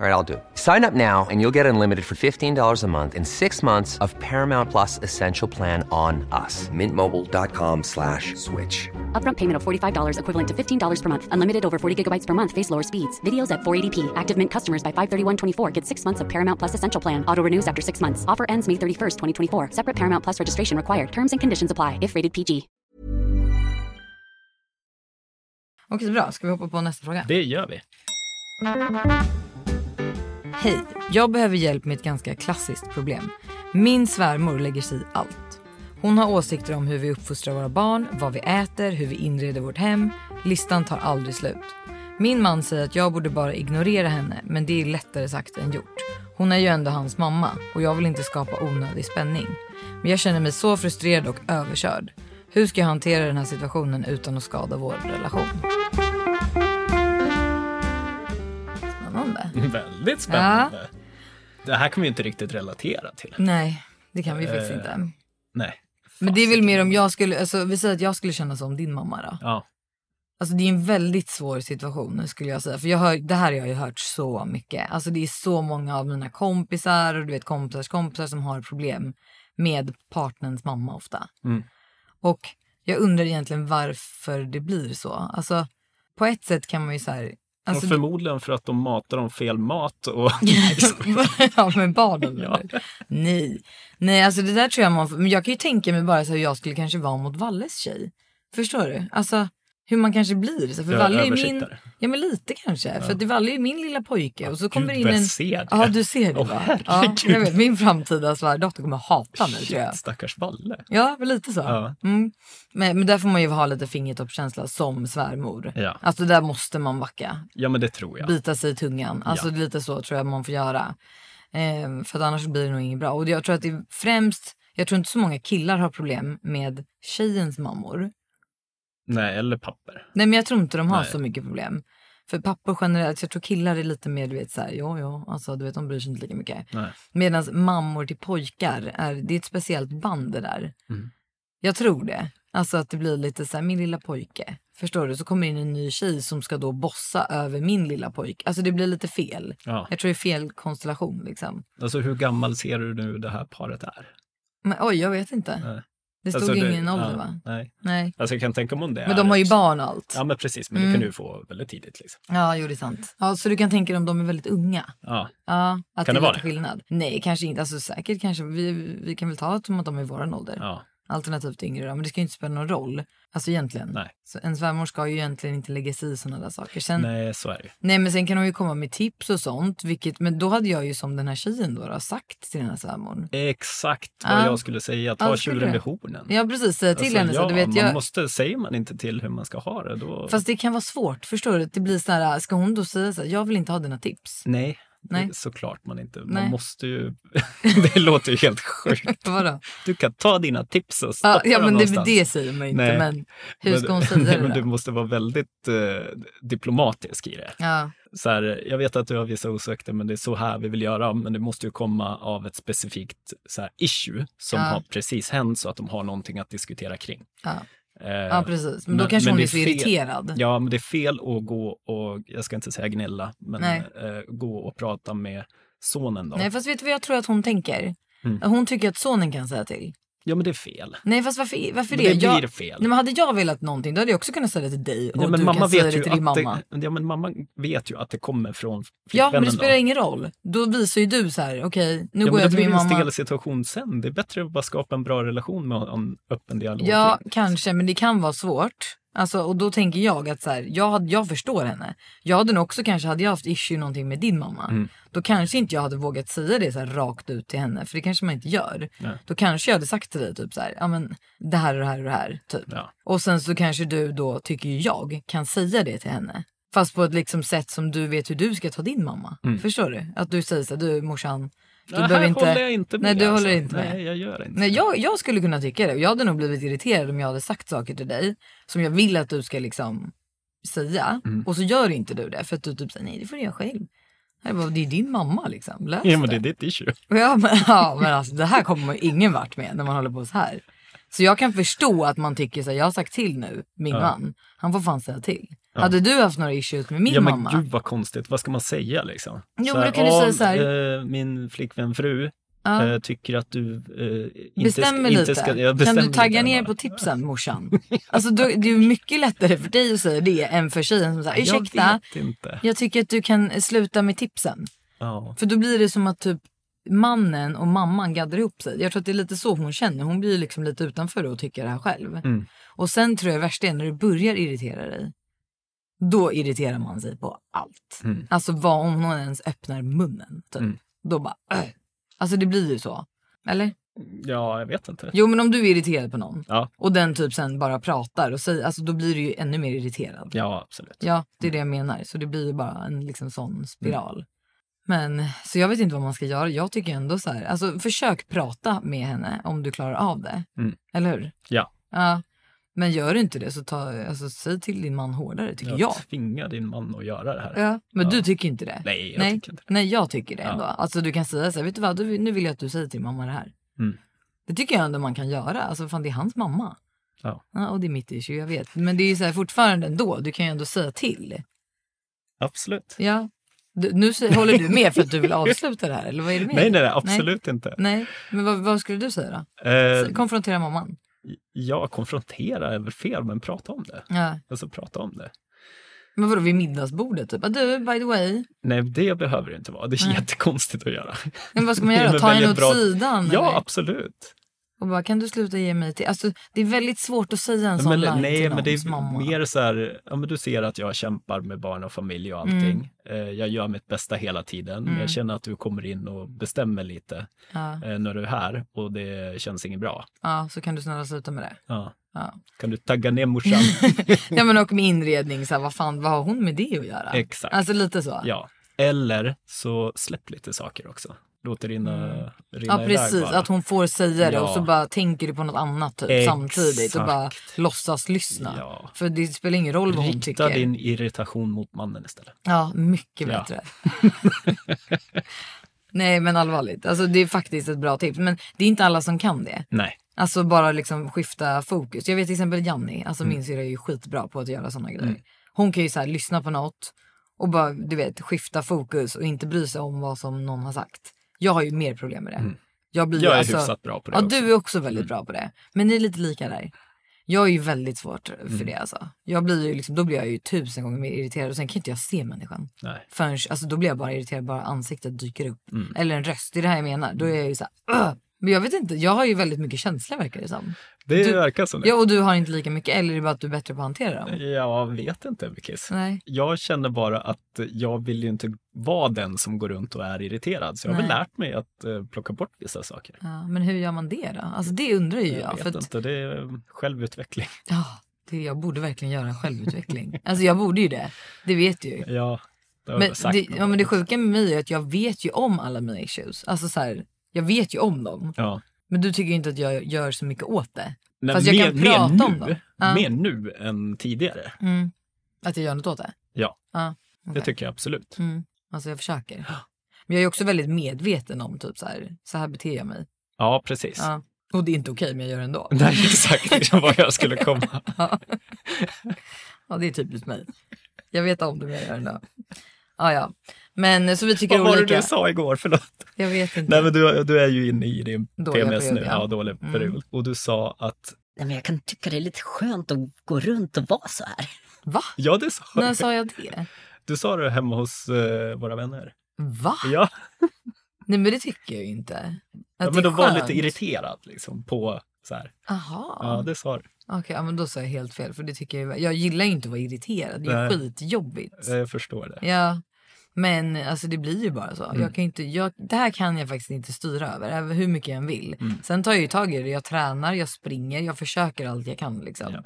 [SPEAKER 5] All right, I'll do. it. Sign up now and you'll get unlimited for $15 a month in six months of Paramount Plus Essential Plan on us. Mintmobile.com slash switch.
[SPEAKER 6] Upfront payment of $45 equivalent to $15 per month. Unlimited over 40 gigabytes per month. Face lower speeds. Videos at 480p. Active Mint customers by 531.24 get six months of Paramount Plus Essential Plan. Auto renews after six months. Offer ends May 31st, 2024. Separate Paramount Plus registration required. Terms and conditions apply if rated PG.
[SPEAKER 2] Okej, bra. Ska vi hoppa på nästa fråga?
[SPEAKER 1] Det gör vi. <laughs>
[SPEAKER 2] Hej, jag behöver hjälp med ett ganska klassiskt problem. Min svärmor lägger sig i allt. Hon har åsikter om hur vi uppfostrar våra barn, vad vi äter, hur vi inreder vårt hem. Listan tar aldrig slut. Min man säger att jag borde bara ignorera henne, men det är lättare sagt än gjort. Hon är ju ändå hans mamma och jag vill inte skapa onödig spänning. Men jag känner mig så frustrerad och överkörd. Hur ska jag hantera den här situationen utan att skada vår relation? Spännande.
[SPEAKER 1] Väldigt spännande. Det här kan vi ju inte riktigt relatera till.
[SPEAKER 2] Nej, det kan vi faktiskt
[SPEAKER 1] Eh,
[SPEAKER 2] inte.
[SPEAKER 1] Nej.
[SPEAKER 2] Men det är väl mer om jag skulle, alltså, vi säger att jag skulle känna som din mamma då.
[SPEAKER 1] Ja.
[SPEAKER 2] Alltså det är en väldigt svår situation skulle jag säga. För jag hör, det här har jag ju hört så mycket. Alltså det är så många av mina kompisar och du vet kompisars kompisar som har problem med partnerns mamma ofta.
[SPEAKER 1] Mm.
[SPEAKER 2] Och jag undrar egentligen varför det blir så. Alltså på ett sätt kan man ju så här. Alltså,
[SPEAKER 1] och förmodligen för att de matar dem fel mat. <laughs>
[SPEAKER 2] <laughs>
[SPEAKER 1] Och...
[SPEAKER 2] ja men barnen eller? Nej. Nej alltså det där tror jag man får- Men jag kan ju tänka mig bara så här, hur jag skulle kanske vara mot Valles tjej. Förstår du? Alltså hur man kanske blir. Så, här, för
[SPEAKER 1] Ja,
[SPEAKER 2] Valle är min...
[SPEAKER 1] översittare.
[SPEAKER 2] Ja men lite kanske. För att det Valle är min lilla pojke. Och så kommer det
[SPEAKER 1] Gud,
[SPEAKER 2] in
[SPEAKER 1] vad
[SPEAKER 2] en...
[SPEAKER 1] jag ser det.
[SPEAKER 2] Ja du ser det
[SPEAKER 1] Åh,
[SPEAKER 2] va? Ja,
[SPEAKER 1] herregud.
[SPEAKER 2] jag vet, min framtida svärdotter kommer hata mig tror jag.
[SPEAKER 1] Shit, stackars Valle.
[SPEAKER 2] Ja, men lite så.
[SPEAKER 1] Ja.
[SPEAKER 2] Mm. Men, men där får man ju ha lite fingertoppskänsla som svärmor.
[SPEAKER 1] Ja.
[SPEAKER 2] Alltså där måste man backa
[SPEAKER 1] Ja, men det tror jag.
[SPEAKER 2] bita sig i tungan. Alltså
[SPEAKER 1] Ja.
[SPEAKER 2] lite så tror jag man får göra. Ehm, för att annars blir det nog inget bra. Och jag tror att det är främst, jag tror inte så många killar har problem med tjejens mammor.
[SPEAKER 1] Nej, eller papper.
[SPEAKER 2] Nej men jag tror inte de har
[SPEAKER 1] Nej.
[SPEAKER 2] så mycket problem. För pappor generellt, jag tror killar är lite mer du vet såhär, ja ja, alltså du vet de bryr sig inte lika mycket.
[SPEAKER 1] Nej.
[SPEAKER 2] Medan mammor till pojkar, är, det är ett speciellt band det där.
[SPEAKER 1] Mm.
[SPEAKER 2] Jag tror det. Alltså att det blir lite så här, min lilla pojke. Förstår du? Så kommer in en ny tjej som ska då bossa över min lilla pojke. Alltså det blir lite fel.
[SPEAKER 1] Ja.
[SPEAKER 2] Jag tror det är fel konstellation liksom.
[SPEAKER 1] Alltså, hur gammal ser du nu det här paret är?
[SPEAKER 2] Men oj, jag vet inte.
[SPEAKER 1] Nej.
[SPEAKER 2] Det stod
[SPEAKER 1] alltså,
[SPEAKER 2] ju ingen ålder
[SPEAKER 1] ja,
[SPEAKER 2] va?
[SPEAKER 1] Nej.
[SPEAKER 2] Nej.
[SPEAKER 1] Alltså, jag kan tänka mig om det
[SPEAKER 2] Men
[SPEAKER 1] är
[SPEAKER 2] de har ju
[SPEAKER 1] ett-
[SPEAKER 2] barn Mm. och allt.
[SPEAKER 1] Ja, men precis. Men det kan du ju få väldigt tidigt. Liksom.
[SPEAKER 2] Ja, jo det är sant. Ja, så du kan tänka dig om de är väldigt unga.
[SPEAKER 1] Ja.
[SPEAKER 2] Ja, att
[SPEAKER 1] Kan
[SPEAKER 2] det
[SPEAKER 1] det
[SPEAKER 2] är
[SPEAKER 1] vara
[SPEAKER 2] lite
[SPEAKER 1] det?
[SPEAKER 2] skillnad. Nej, kanske inte. Alltså säkert kanske. Vi, vi kan väl ta det som att de är i våran ålder.
[SPEAKER 1] ja.
[SPEAKER 2] Alternativt yngre då. Men det ska ju inte spela någon roll. Alltså egentligen.
[SPEAKER 1] Nej.
[SPEAKER 2] Så en svärmor ska ju egentligen inte lägga sig i sådana där saker. Sen, nej.
[SPEAKER 1] Nej, så är det ju.
[SPEAKER 2] men sen kan hon ju komma med tips och sånt. Vilket, men då hade jag ju som den här tjejen då, då sagt till den här svärmorn.
[SPEAKER 1] Exakt vad
[SPEAKER 2] Ja.
[SPEAKER 1] jag skulle säga. Ta
[SPEAKER 2] Ja, skulle
[SPEAKER 1] tjuren
[SPEAKER 2] du?
[SPEAKER 1] vid hornen. Alltså,
[SPEAKER 2] Ja precis, säga till henne. så,
[SPEAKER 1] ja,
[SPEAKER 2] du vet,
[SPEAKER 1] man
[SPEAKER 2] jag,
[SPEAKER 1] måste, säger man inte till hur man ska ha det då...
[SPEAKER 2] Fast det kan vara svårt, förstår du? Det blir så här, ska hon då säga så här, jag vill inte ha dina tips?
[SPEAKER 1] Nej, det är
[SPEAKER 2] Nej.
[SPEAKER 1] såklart man inte.
[SPEAKER 2] Nej.
[SPEAKER 1] Man måste
[SPEAKER 2] <laughs>
[SPEAKER 1] ju... <laughs> det låter ju helt sjukt.
[SPEAKER 2] Vadå?
[SPEAKER 1] Du kan ta dina tips och stoppa
[SPEAKER 2] Ja, ja
[SPEAKER 1] dem
[SPEAKER 2] men det,
[SPEAKER 1] någonstans.
[SPEAKER 2] det säger man ju inte,
[SPEAKER 1] Nej.
[SPEAKER 2] men hur
[SPEAKER 1] Men- <laughs>
[SPEAKER 2] ska hon säga
[SPEAKER 1] nej,
[SPEAKER 2] det
[SPEAKER 1] men Du
[SPEAKER 2] då?
[SPEAKER 1] måste vara väldigt eh, diplomatisk i det.
[SPEAKER 2] Ja,
[SPEAKER 1] Så här, jag vet att du har vissa osökter, men det är så här vi vill göra. Men det måste ju komma av ett specifikt så här, issue som
[SPEAKER 2] Ja.
[SPEAKER 1] har precis hänt så att de har någonting att diskutera kring.
[SPEAKER 2] ja.
[SPEAKER 1] Eh,
[SPEAKER 2] ja precis. Men, då
[SPEAKER 1] men-
[SPEAKER 2] kanske
[SPEAKER 1] men
[SPEAKER 2] hon
[SPEAKER 1] det
[SPEAKER 2] är
[SPEAKER 1] är
[SPEAKER 2] så
[SPEAKER 1] fel.
[SPEAKER 2] irriterad.
[SPEAKER 1] Ja, men det är fel att gå och, jag ska inte säga gnälla, men
[SPEAKER 2] Nej.
[SPEAKER 1] eh, gå och prata med sonen då. Mm.
[SPEAKER 2] Nej fast vet du vad jag tror att hon tänker? Hon tycker att sonen kan säga till.
[SPEAKER 1] Ja, men det är fel.
[SPEAKER 2] Nej fast varför, varför
[SPEAKER 1] Men det
[SPEAKER 2] jag,
[SPEAKER 1] blir fel.
[SPEAKER 2] Nej, men hade jag velat någonting då hade jag också kunnat säga det till dig och
[SPEAKER 1] Ja, men
[SPEAKER 2] du
[SPEAKER 1] mamma
[SPEAKER 2] kan säga
[SPEAKER 1] vet
[SPEAKER 2] det
[SPEAKER 1] ju
[SPEAKER 2] till din
[SPEAKER 1] att
[SPEAKER 2] mamma.
[SPEAKER 1] det, ja, men mamma vet ju att det kommer från
[SPEAKER 2] Ja men
[SPEAKER 1] flickvännen
[SPEAKER 2] det
[SPEAKER 1] då.
[SPEAKER 2] spelar ingen roll. Då visar ju du så här, okej nu
[SPEAKER 1] Ja, men
[SPEAKER 2] går
[SPEAKER 1] det
[SPEAKER 2] jag till
[SPEAKER 1] blir
[SPEAKER 2] min
[SPEAKER 1] ju en
[SPEAKER 2] mamma.
[SPEAKER 1] stel situation sen. Det är bättre att bara skapa en bra relation med en öppen dialog.
[SPEAKER 2] Ja,
[SPEAKER 1] kring det.
[SPEAKER 2] kanske, men det kan vara svårt. Alltså, och då tänker jag att så här, jag, hade- jag förstår henne. Jag hade nog också kanske, hade jag haft issue någonting med din mamma,
[SPEAKER 1] Mm.
[SPEAKER 2] då kanske inte jag hade vågat säga det så här rakt ut till henne, för det kanske man inte gör. Då kanske jag hade sagt till dig typ så här, ja men det här och det här och det här, typ.
[SPEAKER 1] Ja.
[SPEAKER 2] Och sen så kanske du då, tycker ju jag, kan säga det till henne. Fast på ett liksom sätt som du vet hur du ska ta din mamma. Förstår du? Att du säger så här, du morsan, du
[SPEAKER 1] Mm. Nej,
[SPEAKER 2] behöver
[SPEAKER 1] här
[SPEAKER 2] inte...
[SPEAKER 1] håller jag inte med.
[SPEAKER 2] Nej, du
[SPEAKER 1] alltså.
[SPEAKER 2] håller inte med.
[SPEAKER 1] Nej, jag gör inte
[SPEAKER 2] Nej,
[SPEAKER 1] det.
[SPEAKER 2] jag, jag skulle kunna tycka det. Jag hade nog blivit irriterad om jag hade sagt saker till dig som jag vill att du ska liksom säga.
[SPEAKER 1] Mm.
[SPEAKER 2] Och så gör inte du det för att du typ säger nej det får du göra själv. Jag bara, det är din mamma liksom, lös
[SPEAKER 1] Ja, men det är ditt issue.
[SPEAKER 2] Ja, men, ja, men alltså, det här kommer man ju ingen vart med när man håller på så här. Så jag kan förstå att man tycker så här, jag har sagt till nu, min man. Han får fan säga till. Hade du haft några issues med min
[SPEAKER 1] ja, men
[SPEAKER 2] mamma?
[SPEAKER 1] gud vad konstigt. Vad ska man säga liksom?
[SPEAKER 2] Jo,
[SPEAKER 1] Så
[SPEAKER 2] men då kan du
[SPEAKER 1] "Ja,
[SPEAKER 2] säga så här-
[SPEAKER 1] eh, min flickvän fru
[SPEAKER 2] Ja.
[SPEAKER 1] eh, tycker att du eh, inte
[SPEAKER 2] Bestämmer
[SPEAKER 1] ska,
[SPEAKER 2] lite.
[SPEAKER 1] inte ska... ja, bestämmer
[SPEAKER 2] kan du tagga
[SPEAKER 1] lite
[SPEAKER 2] ner
[SPEAKER 1] bara.
[SPEAKER 2] på tipsen morsan? Alltså då, det är ju mycket lättare för dig att säga det än för tjejen som säger ursäkta,
[SPEAKER 1] Jag vet inte.
[SPEAKER 2] jag tycker att du kan sluta med tipsen.
[SPEAKER 1] Ja.
[SPEAKER 2] För då blir det som att typ mannen och mamman gaddar ihop sig. Jag tror att det är lite så hon känner. Hon blir liksom lite utanför och tycker det här själv.
[SPEAKER 1] Mm.
[SPEAKER 2] Och sen tror jag värst är när du börjar irritera dig. Då irriterar man sig på allt.
[SPEAKER 1] Mm.
[SPEAKER 2] Alltså vad om hon ens öppnar munnen. Typ. Då bara, äh. Alltså det blir ju så. Eller?
[SPEAKER 1] Ja, jag vet inte.
[SPEAKER 2] Jo, men om du är irriterad på någon
[SPEAKER 1] Ja.
[SPEAKER 2] och den typ sen bara pratar och säger, alltså då blir du ju ännu mer irriterad.
[SPEAKER 1] Ja, absolut.
[SPEAKER 2] Ja, det är det jag menar. Så det blir ju bara en liksom sån spiral. Men så jag vet inte vad man ska göra. Jag tycker ändå så här, alltså försök prata med henne om du klarar av det.
[SPEAKER 1] Mm.
[SPEAKER 2] Eller hur?
[SPEAKER 1] Ja.
[SPEAKER 2] Ja. Men gör du inte det så ta, alltså, säg till din man hårdare tycker jag.
[SPEAKER 1] Jag tvingar din man att göra det här.
[SPEAKER 2] Ja. Men
[SPEAKER 1] Ja.
[SPEAKER 2] du tycker inte det?
[SPEAKER 1] Nej, jag
[SPEAKER 2] Nej.
[SPEAKER 1] tycker inte det.
[SPEAKER 2] Nej, jag tycker det
[SPEAKER 1] Ja.
[SPEAKER 2] ändå. Alltså du kan säga så här, vet du vad, du, nu vill jag att du säger till mamma det här.
[SPEAKER 1] Mm.
[SPEAKER 2] Det tycker jag ändå man kan göra. Alltså fan det är hans mamma.
[SPEAKER 1] Ja.
[SPEAKER 2] och det är mitt issue, jag vet. Men det är ju så här fortfarande ändå, du kan ju ändå säga till.
[SPEAKER 1] Absolut.
[SPEAKER 2] Ja. Du, nu sä- håller du med för att du vill avsluta det här, eller vad är det med
[SPEAKER 1] Nej, nej,
[SPEAKER 2] dig?
[SPEAKER 1] nej, absolut inte.
[SPEAKER 2] Nej, nej. men vad, vad skulle du säga då?
[SPEAKER 1] Eh,
[SPEAKER 2] Så- Konfrontera mamman?
[SPEAKER 1] ja, konfrontera är väl fel, men prata om det.
[SPEAKER 2] Ja.
[SPEAKER 1] Alltså prata om det.
[SPEAKER 2] Men vadå, vid middagsbordet typ? Ah, Du, by the way,
[SPEAKER 1] Nej, det behöver det inte vara. Det är
[SPEAKER 2] Nej.
[SPEAKER 1] jättekonstigt att göra.
[SPEAKER 2] men vad ska
[SPEAKER 1] <laughs>
[SPEAKER 2] man
[SPEAKER 1] Det är
[SPEAKER 2] göra?
[SPEAKER 1] väl
[SPEAKER 2] Ta henne
[SPEAKER 1] väldigt
[SPEAKER 2] åt
[SPEAKER 1] bra-
[SPEAKER 2] sidan?
[SPEAKER 1] Ja,
[SPEAKER 2] eller?
[SPEAKER 1] absolut.
[SPEAKER 2] Och bara, kan du sluta ge mig till... Alltså, det är väldigt svårt att säga en sån
[SPEAKER 1] Men,
[SPEAKER 2] line till
[SPEAKER 1] nej, men det
[SPEAKER 2] någons
[SPEAKER 1] är
[SPEAKER 2] mamma.
[SPEAKER 1] mer så här, ja, men du ser att jag kämpar med barn och familj
[SPEAKER 2] Mm.
[SPEAKER 1] och allting. Eh, Jag gör mitt bästa hela tiden. men Jag känner att du kommer in och bestämmer lite
[SPEAKER 2] Ja,
[SPEAKER 1] eh, när du är här och det känns inget bra.
[SPEAKER 2] ja, så kan du snälla sluta med det.
[SPEAKER 1] Ja.
[SPEAKER 2] Ja.
[SPEAKER 1] Kan du tagga ner morsan?
[SPEAKER 2] <laughs> ja men och med inredning, så här, vad fan, vad har hon med det att göra?
[SPEAKER 1] Exakt.
[SPEAKER 2] Alltså lite så.
[SPEAKER 1] ja. Eller så släpp lite saker också. Låt det rinna, rinna
[SPEAKER 2] Mm. Ja precis,
[SPEAKER 1] iväg bara.
[SPEAKER 2] att hon får säga det och
[SPEAKER 1] Ja.
[SPEAKER 2] så bara tänker du på något annat typ
[SPEAKER 1] Exakt.
[SPEAKER 2] samtidigt och bara låtsas lyssna.
[SPEAKER 1] Ja.
[SPEAKER 2] För det spelar ingen roll vad hon
[SPEAKER 1] Rikta
[SPEAKER 2] tycker.
[SPEAKER 1] din irritation mot mannen istället.
[SPEAKER 2] Ja, mycket
[SPEAKER 1] Ja.
[SPEAKER 2] bättre. <laughs> Nej men allvarligt, alltså, det är faktiskt ett bra tips. Men det är inte alla som kan det.
[SPEAKER 1] Nej.
[SPEAKER 2] Alltså bara liksom skifta fokus. Jag vet till exempel Janni, alltså
[SPEAKER 1] Mm.
[SPEAKER 2] min syrra är ju skitbra på att göra sådana grejer. Hon kan ju så här lyssna på något och bara du vet skifta fokus och inte bry sig om vad som någon har sagt. Jag har ju mer problem med det. Jag, blir,
[SPEAKER 1] Mm. Jag är
[SPEAKER 2] alltså,
[SPEAKER 1] hyfsat bra på det
[SPEAKER 2] Ja
[SPEAKER 1] också. Mm.
[SPEAKER 2] du är också väldigt bra på det. Men ni är lite lika där. Jag är ju väldigt svårt för
[SPEAKER 1] Mm.
[SPEAKER 2] det alltså. Jag blir ju liksom, då blir jag ju tusen gånger mer irriterad och sen kan inte jag se människan.
[SPEAKER 1] Nej.
[SPEAKER 2] Förrän, alltså då blir jag bara irriterad bara ansiktet dyker upp.
[SPEAKER 1] Mm.
[SPEAKER 2] Eller en röst, det är det här jag menar. Då är jag ju såhär, men jag vet inte, jag har ju väldigt mycket känsla verkar det
[SPEAKER 1] Mm.
[SPEAKER 2] som.
[SPEAKER 1] Det
[SPEAKER 2] Du-
[SPEAKER 1] verkar som det.
[SPEAKER 2] Ja och du har inte lika mycket, eller är det bara att du är bättre på att hantera dem?
[SPEAKER 1] Jag vet inte, Mikis.
[SPEAKER 2] Nej.
[SPEAKER 1] Jag känner bara att jag vill ju inte vara den som går runt och är irriterad. Så jag har väl
[SPEAKER 2] Nej.
[SPEAKER 1] lärt mig att eh, plocka bort vissa saker.
[SPEAKER 2] Ja, men hur gör man det då? Alltså det undrar ju jag.
[SPEAKER 1] jag
[SPEAKER 2] För
[SPEAKER 1] vet
[SPEAKER 2] att,
[SPEAKER 1] inte, det är eh, självutveckling. <laughs>
[SPEAKER 2] ja, det, jag borde verkligen göra en självutveckling. alltså jag borde ju det, det vet du ju.
[SPEAKER 1] Ja, det har
[SPEAKER 2] Men
[SPEAKER 1] jag sagt.
[SPEAKER 2] det,
[SPEAKER 1] någon
[SPEAKER 2] ja, men
[SPEAKER 1] gång.
[SPEAKER 2] det sjuka med mig är att jag vet ju om alla mina issues. Alltså så här, jag vet ju om dem.
[SPEAKER 1] Ja.
[SPEAKER 2] Men du tycker ju inte att jag gör så mycket åt det.
[SPEAKER 1] Nej,
[SPEAKER 2] Fast jag
[SPEAKER 1] mer,
[SPEAKER 2] kan prata
[SPEAKER 1] mer
[SPEAKER 2] om
[SPEAKER 1] nu,
[SPEAKER 2] dem. Ja.
[SPEAKER 1] Mer nu än tidigare.
[SPEAKER 2] Mm. Att jag gör något åt det.
[SPEAKER 1] Ja,
[SPEAKER 2] Ja,
[SPEAKER 1] det
[SPEAKER 2] okej.
[SPEAKER 1] tycker jag absolut.
[SPEAKER 2] Mm. Alltså jag försöker.
[SPEAKER 1] <gasps>
[SPEAKER 2] Men jag är också väldigt medveten om typ så här, så här beter jag mig.
[SPEAKER 1] Ja, precis.
[SPEAKER 2] Ja. Och det är inte okej men jag gör det ändå.
[SPEAKER 1] <laughs> Nej, exakt <laughs>
[SPEAKER 2] <laughs>
[SPEAKER 1] det var vad jag skulle komma.
[SPEAKER 2] Ja. ja, det är typiskt mig. Jag vet om det men jag gör det ändå. Ja, ja. Men så vi tycker
[SPEAKER 1] Vad var det
[SPEAKER 2] olika.
[SPEAKER 1] du sa igår? Förlåt.
[SPEAKER 2] Jag vet inte.
[SPEAKER 1] Nej, men du, du är ju inne i din
[SPEAKER 2] Dåliga
[SPEAKER 1] PMS nu.
[SPEAKER 2] period, ja. Mm.
[SPEAKER 1] Ja, dålig period. Och du sa att,
[SPEAKER 7] Nej, men jag kan tycka det är lite skönt att gå runt och vara så här.
[SPEAKER 2] Va?
[SPEAKER 1] ja det sa
[SPEAKER 2] När
[SPEAKER 1] du.
[SPEAKER 2] sa jag det?
[SPEAKER 1] Du sa det hemma hos eh, våra vänner.
[SPEAKER 2] Va?
[SPEAKER 1] Ja,
[SPEAKER 2] Nej men det tycker jag ju inte. Att
[SPEAKER 1] ja
[SPEAKER 2] det är
[SPEAKER 1] men de var
[SPEAKER 2] skönt.
[SPEAKER 1] lite irriterad liksom på så här.
[SPEAKER 2] Aha.
[SPEAKER 1] Ja, det sa du.
[SPEAKER 2] Okej, ja, men då sa jag helt fel. För det tycker jag, ju- jag gillar ju inte att vara irriterad. Det är ju
[SPEAKER 1] Nej.
[SPEAKER 2] skitjobbigt.
[SPEAKER 1] Eh, Jag förstår det. Mm.
[SPEAKER 2] Ja. Men alltså det blir ju bara så. Jag kan ju inte, jag, det här kan jag faktiskt inte styra över, även hur mycket jag än vill.
[SPEAKER 1] Mm.
[SPEAKER 2] Sen tar jag ju tag i det. Jag tränar, jag springer, jag försöker allt jag kan. Liksom.
[SPEAKER 1] Ja.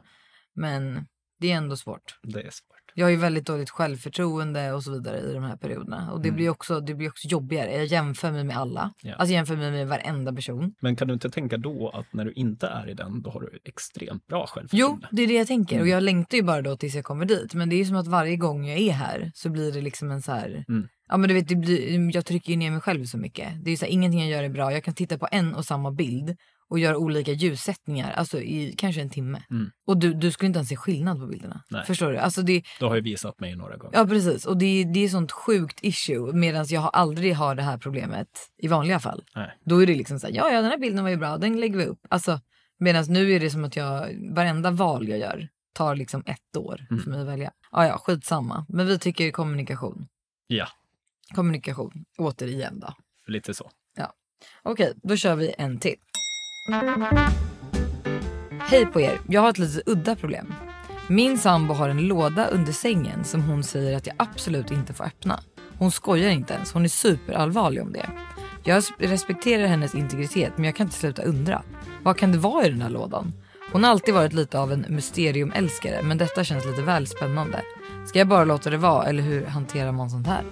[SPEAKER 2] Men det är ändå svårt.
[SPEAKER 1] Det är svårt.
[SPEAKER 2] Jag har ju väldigt dåligt självförtroende och så vidare i de här perioderna. Och det, blir, också, det blir också jobbigare. Jag jämför mig med alla.
[SPEAKER 1] Mm. Ja.
[SPEAKER 2] Alltså jag jämför mig med varenda person.
[SPEAKER 1] Men kan du inte tänka då att när du inte är i den, då har du extremt bra
[SPEAKER 2] Jo,
[SPEAKER 1] självförtroende?
[SPEAKER 2] det är det jag tänker.
[SPEAKER 1] Mm.
[SPEAKER 2] Och jag längtar ju bara då tills jag kommer dit. Men det är ju som att varje gång jag är här så blir det liksom en så här...
[SPEAKER 1] Mm.
[SPEAKER 2] Ja men du vet, det blir, jag trycker ju ner mig själv så mycket. Det är ju så här, ingenting jag gör är bra. Jag kan titta på en och samma bild och göra olika ljussättningar, alltså i kanske en timme.
[SPEAKER 1] Mm.
[SPEAKER 2] Och du, du skulle inte ens se skillnad på bilderna.
[SPEAKER 1] Nej.
[SPEAKER 2] Förstår du? Alltså det,
[SPEAKER 1] Du har ju visat mig några gånger.
[SPEAKER 2] ja precis. Och det, är- det är sånt sjukt issue. Medan jag har aldrig har det här problemet i vanliga fall.
[SPEAKER 1] Nej.
[SPEAKER 2] Då är det liksom så här, ja, ja den här bilden var ju bra, den lägger vi upp. Alltså, Medan nu är det som att jag, varenda val jag gör tar liksom ett år för mig att välja. Ja, ja, skitsamma. Men vi tycker kommunikation.
[SPEAKER 1] Ja,
[SPEAKER 2] Kommunikation, återigen då.
[SPEAKER 1] lite så.
[SPEAKER 2] Ja. Okej, då kör vi en till. Hej på er, jag har ett lite udda problem. Min sambo har en låda under sängen som hon säger att jag absolut inte får öppna. Hon skojar inte ens, hon är superallvarlig om det. Jag respekterar hennes integritet men jag kan inte sluta undra. Vad kan det vara i den här lådan? Hon har alltid varit lite av en mysteriumälskare men detta känns lite väl spännande. Ska jag bara låta det vara eller hur hanterar man sånt här?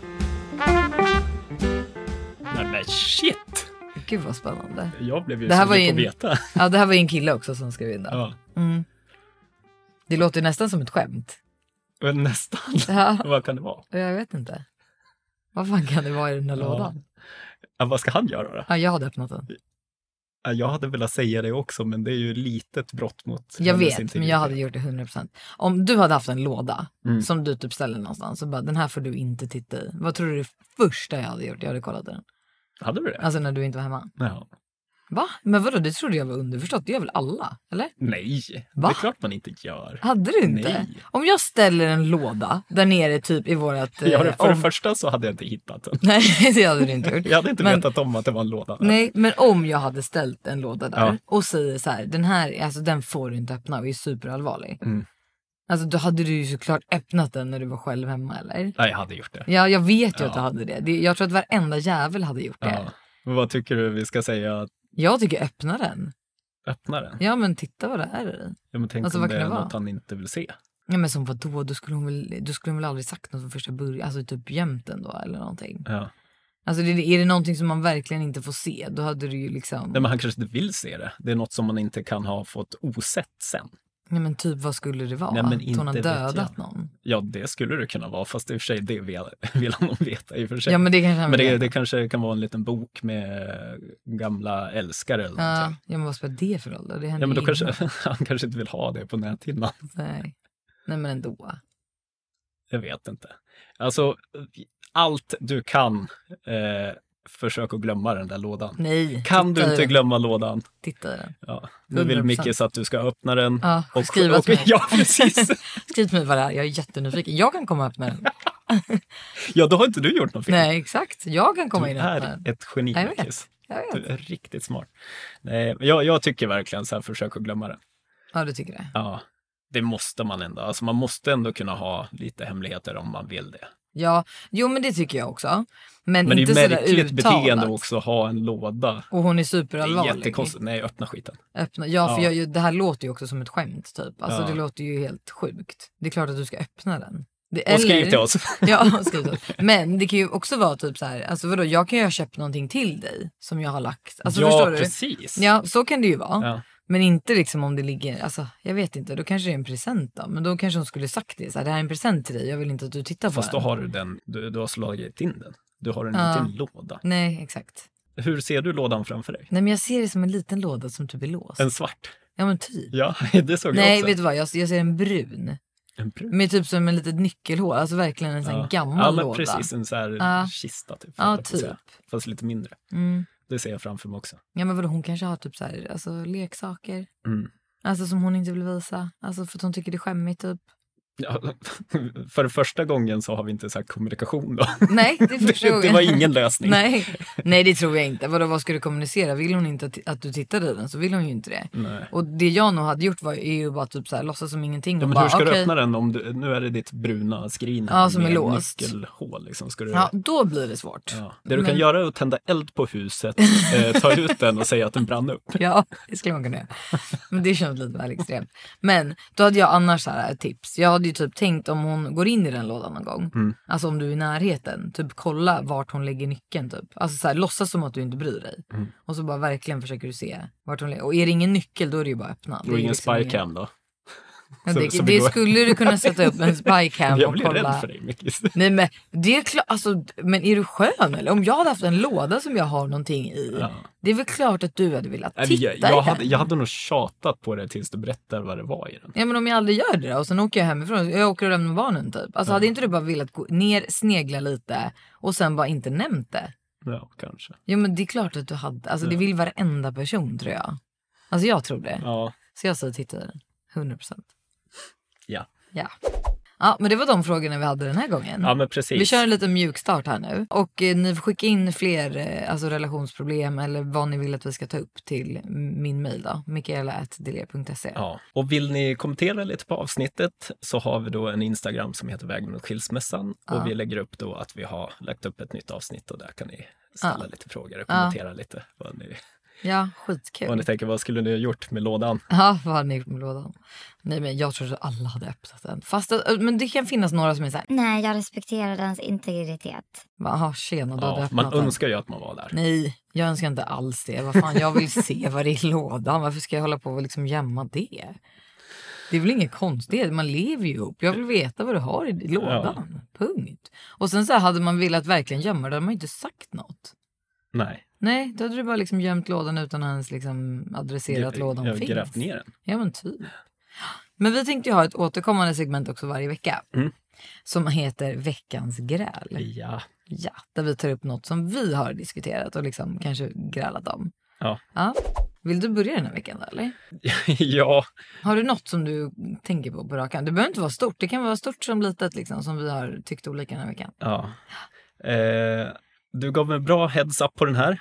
[SPEAKER 1] Nej men shit!
[SPEAKER 2] Gud vad spännande.
[SPEAKER 1] Jag blev ju
[SPEAKER 2] Det här var ju
[SPEAKER 1] sugen
[SPEAKER 2] en,
[SPEAKER 1] på att veta.
[SPEAKER 2] ja, det här var ju en kille också som skrev in det.
[SPEAKER 1] Ja.
[SPEAKER 2] Mm. Det låter ju nästan som ett skämt.
[SPEAKER 1] Men nästan.
[SPEAKER 2] Ja.
[SPEAKER 1] Vad kan det vara?
[SPEAKER 2] Jag vet inte. Vad fan kan det vara i den här
[SPEAKER 1] Ja.
[SPEAKER 2] lådan?
[SPEAKER 1] Ja, vad ska han göra då?
[SPEAKER 2] Ja, jag hade öppnat den.
[SPEAKER 1] Ja, Jag hade velat säga det också, men det är ju litet brott mot
[SPEAKER 2] Jag
[SPEAKER 1] hennes
[SPEAKER 2] vet, men
[SPEAKER 1] integritet.
[SPEAKER 2] jag hade gjort det 100%. Om du hade haft en låda
[SPEAKER 1] Mm.
[SPEAKER 2] som du typ ställer någonstans och bara den här får du inte titta i. Vad tror du det första jag hade gjort? Jag hade kollat i den.
[SPEAKER 1] Hade du det?
[SPEAKER 2] Alltså när du inte var hemma.
[SPEAKER 1] Ja.
[SPEAKER 2] Va? Men vadå, det trodde jag var underförstått. Det gör väl alla? Eller?
[SPEAKER 1] Nej, det
[SPEAKER 2] Va?
[SPEAKER 1] är klart man inte gör.
[SPEAKER 2] Hade du inte?
[SPEAKER 1] Nej.
[SPEAKER 2] Om jag ställer en låda där nere typ i vårat... eh,
[SPEAKER 1] Ja, det- för det
[SPEAKER 2] om-
[SPEAKER 1] första så hade jag inte hittat den.
[SPEAKER 2] <laughs> Nej, det hade du inte <laughs> gjort.
[SPEAKER 1] Jag hade inte
[SPEAKER 2] Men-
[SPEAKER 1] vetat om att det var en låda. där.
[SPEAKER 2] Nej, men om jag hade ställt en låda där
[SPEAKER 1] Ja.
[SPEAKER 2] och säger så här, den här alltså, den får du inte öppna och är superallvarlig.
[SPEAKER 1] Mm.
[SPEAKER 2] Alltså då hade du ju såklart öppnat den när du var själv hemma eller?
[SPEAKER 1] Nej, jag hade gjort det.
[SPEAKER 2] Ja, jag vet ju
[SPEAKER 1] Ja.
[SPEAKER 2] att du hade det. det. Jag tror att varenda jävel hade gjort det.
[SPEAKER 1] Ja. Men vad tycker du vi ska säga? att
[SPEAKER 2] Jag tycker öppna den.
[SPEAKER 1] Öppna den?
[SPEAKER 2] Ja, men titta vad det är i.
[SPEAKER 1] Ja, men tänk
[SPEAKER 2] Alltså,
[SPEAKER 1] om
[SPEAKER 2] vad
[SPEAKER 1] det
[SPEAKER 2] kan
[SPEAKER 1] är
[SPEAKER 2] det vara?
[SPEAKER 1] något han inte vill se.
[SPEAKER 2] Ja, men som vadå, då skulle hon väl, då skulle hon väl aldrig sagt något från första början. Alltså typ gömt den då eller någonting.
[SPEAKER 1] Ja.
[SPEAKER 2] Alltså det, är det någonting som man verkligen inte får se, då hade du ju liksom,
[SPEAKER 1] Nej, men han kanske inte vill se det. Det är något som man inte kan ha fått osett sen.
[SPEAKER 2] nej men typ vad skulle det vara?
[SPEAKER 1] Nej, men
[SPEAKER 2] att hon har
[SPEAKER 1] inte vet
[SPEAKER 2] dödat
[SPEAKER 1] jag.
[SPEAKER 2] någon?
[SPEAKER 1] Ja, det skulle det kunna vara, fast i och för sig, det vill, <laughs> vill han nog veta i och för sig.
[SPEAKER 2] Ja, men det kanske
[SPEAKER 1] Men
[SPEAKER 2] han vill
[SPEAKER 1] det,
[SPEAKER 2] veta.
[SPEAKER 1] det kanske kan vara en liten bok med gamla älskare eller
[SPEAKER 2] Ja,
[SPEAKER 1] någonting.
[SPEAKER 2] ja, men vad spelar det för roll då? Det
[SPEAKER 1] Ja,
[SPEAKER 2] händer
[SPEAKER 1] men då
[SPEAKER 2] ju
[SPEAKER 1] kanske
[SPEAKER 2] innan.
[SPEAKER 1] <laughs> han kanske inte vill ha det på näthinnan.
[SPEAKER 2] Nej. Nej, men ändå.
[SPEAKER 1] Jag vet inte. Alltså, allt du kan, eh, försök att glömma den där lådan.
[SPEAKER 2] Nej.
[SPEAKER 1] Kan
[SPEAKER 2] titta
[SPEAKER 1] du
[SPEAKER 2] i
[SPEAKER 1] inte
[SPEAKER 2] den.
[SPEAKER 1] glömma lådan?
[SPEAKER 2] Titta i den.
[SPEAKER 1] Ja. Nu vill
[SPEAKER 2] 100%.
[SPEAKER 1] Micke så att du ska öppna den.
[SPEAKER 2] Ja, skriva
[SPEAKER 1] och,
[SPEAKER 2] till mig.
[SPEAKER 1] Ja, precis.
[SPEAKER 2] <laughs> Skriv till mig vad det är, jag är jättenyfiken. Jag kan komma upp med
[SPEAKER 1] <laughs>
[SPEAKER 2] den.
[SPEAKER 1] Ja, då har inte du gjort något fel.
[SPEAKER 2] Nej, exakt. Jag kan komma
[SPEAKER 1] du
[SPEAKER 2] in och öppna
[SPEAKER 1] är
[SPEAKER 2] den.
[SPEAKER 1] ett geni,
[SPEAKER 2] Jag vet,
[SPEAKER 1] Mickis.
[SPEAKER 2] jag vet.
[SPEAKER 1] Du är riktigt smart. Nej, men jag, jag tycker verkligen så här, försök att glömma den.
[SPEAKER 2] Ja, du tycker det.
[SPEAKER 1] Ja, det måste man ändå. Alltså man måste ändå kunna ha lite hemligheter om man vill det.
[SPEAKER 2] Ja, jo men det tycker jag också. Men,
[SPEAKER 1] Men det är
[SPEAKER 2] inte
[SPEAKER 1] ju
[SPEAKER 2] sådär
[SPEAKER 1] märkligt
[SPEAKER 2] uttalat. liksom.
[SPEAKER 1] beteende också att ha en låda.
[SPEAKER 2] Och hon är
[SPEAKER 1] Det är
[SPEAKER 2] superallvarlig.
[SPEAKER 1] jättekonstigt. Nej, öppna skiten.
[SPEAKER 2] Öppna. Ja, för
[SPEAKER 1] Ja.
[SPEAKER 2] Jag, det här låter ju också som ett skämt typ. Alltså
[SPEAKER 1] Ja.
[SPEAKER 2] det låter ju helt sjukt. Det är klart att du ska öppna den. Det,
[SPEAKER 1] Och skriv
[SPEAKER 2] eller-
[SPEAKER 1] till oss.
[SPEAKER 2] <laughs> Ja, och skriv till oss. Men det kan ju också vara typ så här, alltså vadå, jag kan ju ha köpt någonting till dig som jag har lagt. Alltså
[SPEAKER 1] ja,
[SPEAKER 2] förstår du?
[SPEAKER 1] precis.
[SPEAKER 2] Ja, så kan det ju vara.
[SPEAKER 1] Ja.
[SPEAKER 2] Men inte liksom om det ligger, alltså jag vet inte, då kanske det är en present då. Men då kanske hon skulle sagt det, så här, det här är en present till dig, jag vill inte att du tittar på
[SPEAKER 1] Fast då
[SPEAKER 2] den.
[SPEAKER 1] har du den, du, du har slagit in den. Du har den
[SPEAKER 2] Ja.
[SPEAKER 1] inte i en låda.
[SPEAKER 2] Nej, exakt.
[SPEAKER 1] Hur ser du lådan framför dig?
[SPEAKER 2] Nej men jag ser det som en liten låda som typ är låst.
[SPEAKER 1] En svart?
[SPEAKER 2] Ja men typ.
[SPEAKER 1] Ja, <laughs> det såg jag
[SPEAKER 2] Nej,
[SPEAKER 1] också.
[SPEAKER 2] vet du vad, jag, jag ser en brun.
[SPEAKER 1] En brun.
[SPEAKER 2] Med typ som en litet nyckelhål, alltså verkligen en sån här
[SPEAKER 1] Ja.
[SPEAKER 2] gammal
[SPEAKER 1] ja, men
[SPEAKER 2] låda.
[SPEAKER 1] precis. En så här
[SPEAKER 2] Ja.
[SPEAKER 1] kista typ.
[SPEAKER 2] Ja,
[SPEAKER 1] får jag säga. Fast lite mindre.
[SPEAKER 2] Mm.
[SPEAKER 1] Det ser jag framför mig också.
[SPEAKER 2] Ja men vadå, hon kanske har typ så här, alltså leksaker.
[SPEAKER 1] Mm.
[SPEAKER 2] Alltså som hon inte vill visa. Alltså för att hon tycker det är skämmigt typ.
[SPEAKER 1] Ja, <laughs> för första gången så har vi inte så här kommunikation då.
[SPEAKER 2] Nej,
[SPEAKER 1] <laughs>
[SPEAKER 2] det är första
[SPEAKER 1] det, det
[SPEAKER 2] gången.
[SPEAKER 1] var ingen lösning.
[SPEAKER 2] Nej. Nej, det tror jag inte. Vadå, vad ska du kommunicera? Vill hon inte att, att du tittade i den så vill hon ju inte det.
[SPEAKER 1] Nej.
[SPEAKER 2] Och det jag nog hade gjort var är ju bara typ så här, låtsas som ingenting och
[SPEAKER 1] Ja, men
[SPEAKER 2] bara
[SPEAKER 1] hur ska du
[SPEAKER 2] okej.
[SPEAKER 1] öppna den om du, nu är det ditt bruna skrin
[SPEAKER 2] Ja,
[SPEAKER 1] här
[SPEAKER 2] som är
[SPEAKER 1] med
[SPEAKER 2] låst.
[SPEAKER 1] nyckelhål. Liksom. Ska du,
[SPEAKER 2] Ja,
[SPEAKER 1] ja.
[SPEAKER 2] då blir det svårt.
[SPEAKER 1] Det du kan
[SPEAKER 2] Men-
[SPEAKER 1] göra är att tända eld på huset,
[SPEAKER 2] <laughs>
[SPEAKER 1] eh, ta ut den och säga att den brann upp.
[SPEAKER 2] Ja, det skulle man kunna göra. Men det känns lite väl extremt. Men då hade jag annars så här ett tips. Jag hade ju typ tänkt om hon går in i den lådan någon gång.
[SPEAKER 1] Mm.
[SPEAKER 2] Alltså om du är i närheten. Typ kolla vart hon lägger nyckeln typ. Alltså så här, låtsas som att du inte bryr dig.
[SPEAKER 1] Mm.
[SPEAKER 2] Och så bara verkligen försöker du se vart hon lägger. Och är det ingen nyckel då är det ju bara att öppna.
[SPEAKER 1] Och
[SPEAKER 2] är
[SPEAKER 1] ingen
[SPEAKER 2] liksom ingen-
[SPEAKER 1] spycam då.
[SPEAKER 2] Ja,
[SPEAKER 1] Så-
[SPEAKER 2] det
[SPEAKER 1] så vi
[SPEAKER 2] det
[SPEAKER 1] går-
[SPEAKER 2] skulle du kunna sätta
[SPEAKER 1] <laughs>
[SPEAKER 2] upp en spycam
[SPEAKER 1] Jag
[SPEAKER 2] och
[SPEAKER 1] blir rädd
[SPEAKER 2] kolla.
[SPEAKER 1] för dig, <laughs> Mickis.
[SPEAKER 2] Nej men det är klart, alltså, men är du skön eller? Om jag hade haft en låda som jag har någonting i.
[SPEAKER 1] Ja.
[SPEAKER 2] Det är väl klart att du hade velat
[SPEAKER 1] Nej, men
[SPEAKER 2] titta
[SPEAKER 1] Jag,
[SPEAKER 2] i
[SPEAKER 1] jag,
[SPEAKER 2] den.
[SPEAKER 1] hade, jag hade nog tjatat på det tills du berättar vad det var i den.
[SPEAKER 2] Ja men om jag aldrig gör det då, och sen åker jag hemifrån, jag åker och lämnar barnen typ. Alltså hade inte du bara velat gå ner, snegla lite och sen bara inte nämnt det?
[SPEAKER 1] Ja, kanske.
[SPEAKER 2] Jo men det är klart att du hade, alltså det vill varenda person tror jag. Alltså jag tror det.
[SPEAKER 1] Ja.
[SPEAKER 2] Så jag säger titta i den, 100%.
[SPEAKER 1] ja.
[SPEAKER 2] Ja. Ja, men det var de frågorna vi hade den här gången.
[SPEAKER 1] Ja, men precis.
[SPEAKER 2] Vi kör en liten mjukstart här nu. Och eh, ni får skicka in fler eh, alltså relationsproblem eller vad ni vill att vi ska ta upp till min mejl då. Mikaela.deler.se.
[SPEAKER 1] Ja. Och vill ni kommentera lite på avsnittet så har vi då en Instagram som heter Vägen mot skilsmässan
[SPEAKER 2] Ja.
[SPEAKER 1] och vi lägger upp då att vi har lagt upp ett nytt avsnitt och där kan ni ställa
[SPEAKER 2] Ja.
[SPEAKER 1] lite frågor och
[SPEAKER 2] Ja.
[SPEAKER 1] kommentera lite vad ni,
[SPEAKER 2] Ja, skitkul.
[SPEAKER 1] vad ni tänker. Vad skulle ni ha gjort med lådan?
[SPEAKER 2] Ja, vad hade ni gjort med lådan? Nej, men jag trodde alla hade öppnat den. Fast att, men det kan finnas några som är så här,
[SPEAKER 8] Nej, jag respekterar dens integritet.
[SPEAKER 2] jaha, tjena, du hade
[SPEAKER 1] Ja,
[SPEAKER 2] öppnat
[SPEAKER 1] man
[SPEAKER 2] den.
[SPEAKER 1] önskar ju att man var där.
[SPEAKER 2] Nej, jag önskar inte alls det. Vad fan, jag vill se vad det är i lådan. Varför ska jag hålla på och liksom gömma det? Det är väl inget konstigt, man lever ju ihop. Jag vill veta vad du har i lådan. Punkt. Och sen så här, hade man velat verkligen gömma det, hade man ju inte sagt något.
[SPEAKER 1] Nej,
[SPEAKER 2] Nej, då hade du bara liksom gömt lådan utan att ens liksom adressera att lådan
[SPEAKER 1] jag har
[SPEAKER 2] finns.
[SPEAKER 1] grävt ner den.
[SPEAKER 2] Ja men typ. Men vi tänkte ju ha ett återkommande segment också varje vecka.
[SPEAKER 1] Mm.
[SPEAKER 2] Som heter veckans gräl.
[SPEAKER 1] Ja.
[SPEAKER 2] Ja, där vi tar upp något som vi har diskuterat och liksom kanske grälat om.
[SPEAKER 1] Ja.
[SPEAKER 2] Ja. Vill du börja den här veckan då, eller?
[SPEAKER 1] ja, <laughs>
[SPEAKER 2] Har du något som du tänker på på rak arm? Det behöver inte vara stort. Det kan vara stort som litet liksom som vi har tyckt olika den här veckan.
[SPEAKER 1] ja. Eh, du gav mig bra heads up på den
[SPEAKER 2] <laughs>
[SPEAKER 1] här.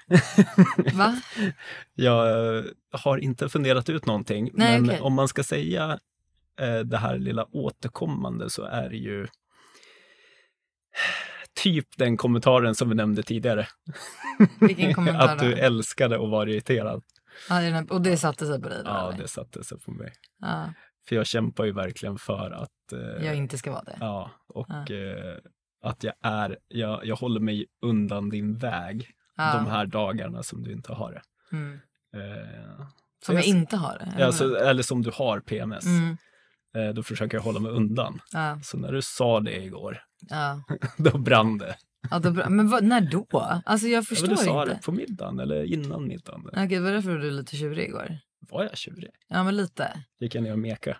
[SPEAKER 2] Va?
[SPEAKER 1] Jag eh, har inte funderat ut någonting,
[SPEAKER 2] Nej,
[SPEAKER 1] men
[SPEAKER 2] okej.
[SPEAKER 1] om man ska säga eh, det här lilla återkommande så är det ju typ den kommentaren som vi nämnde tidigare. <laughs>
[SPEAKER 2] Vilken kommentar
[SPEAKER 1] att du
[SPEAKER 2] då?
[SPEAKER 1] älskade att vara irriterad.
[SPEAKER 2] Ja, det är den här- Och det satte sig på dig då?
[SPEAKER 1] Ja,
[SPEAKER 2] eller?
[SPEAKER 1] det satte sig på mig.
[SPEAKER 2] Ja,
[SPEAKER 1] För jag kämpar ju verkligen för att... eh,
[SPEAKER 2] jag inte ska vara det.
[SPEAKER 1] Ja, och
[SPEAKER 2] Ja.
[SPEAKER 1] eh, att jag är... Jag, jag håller mig undan din väg
[SPEAKER 2] Ja.
[SPEAKER 1] de här dagarna som du inte har det.
[SPEAKER 2] Mm.
[SPEAKER 1] Eh,
[SPEAKER 2] Som
[SPEAKER 1] jag-
[SPEAKER 2] jag inte har det? eller
[SPEAKER 1] alltså,
[SPEAKER 2] vad?
[SPEAKER 1] eller som du har PMS.
[SPEAKER 2] Mm.
[SPEAKER 1] Eh, Då försöker jag hålla mig undan.
[SPEAKER 2] Ja,
[SPEAKER 1] Så när du sa det igår, <laughs>
[SPEAKER 2] ja.
[SPEAKER 1] då brann det.
[SPEAKER 2] Ja, då, bra. men vad, när då? Alltså jag
[SPEAKER 1] Ja,
[SPEAKER 2] förstår
[SPEAKER 1] men du sa
[SPEAKER 2] inte.
[SPEAKER 1] det på middagen eller innan middagen.
[SPEAKER 2] Okej, det var därför du var lite tjurig igår.
[SPEAKER 1] Var jag tjurig?
[SPEAKER 2] Ja, men lite.
[SPEAKER 1] Gick jag ner och meka?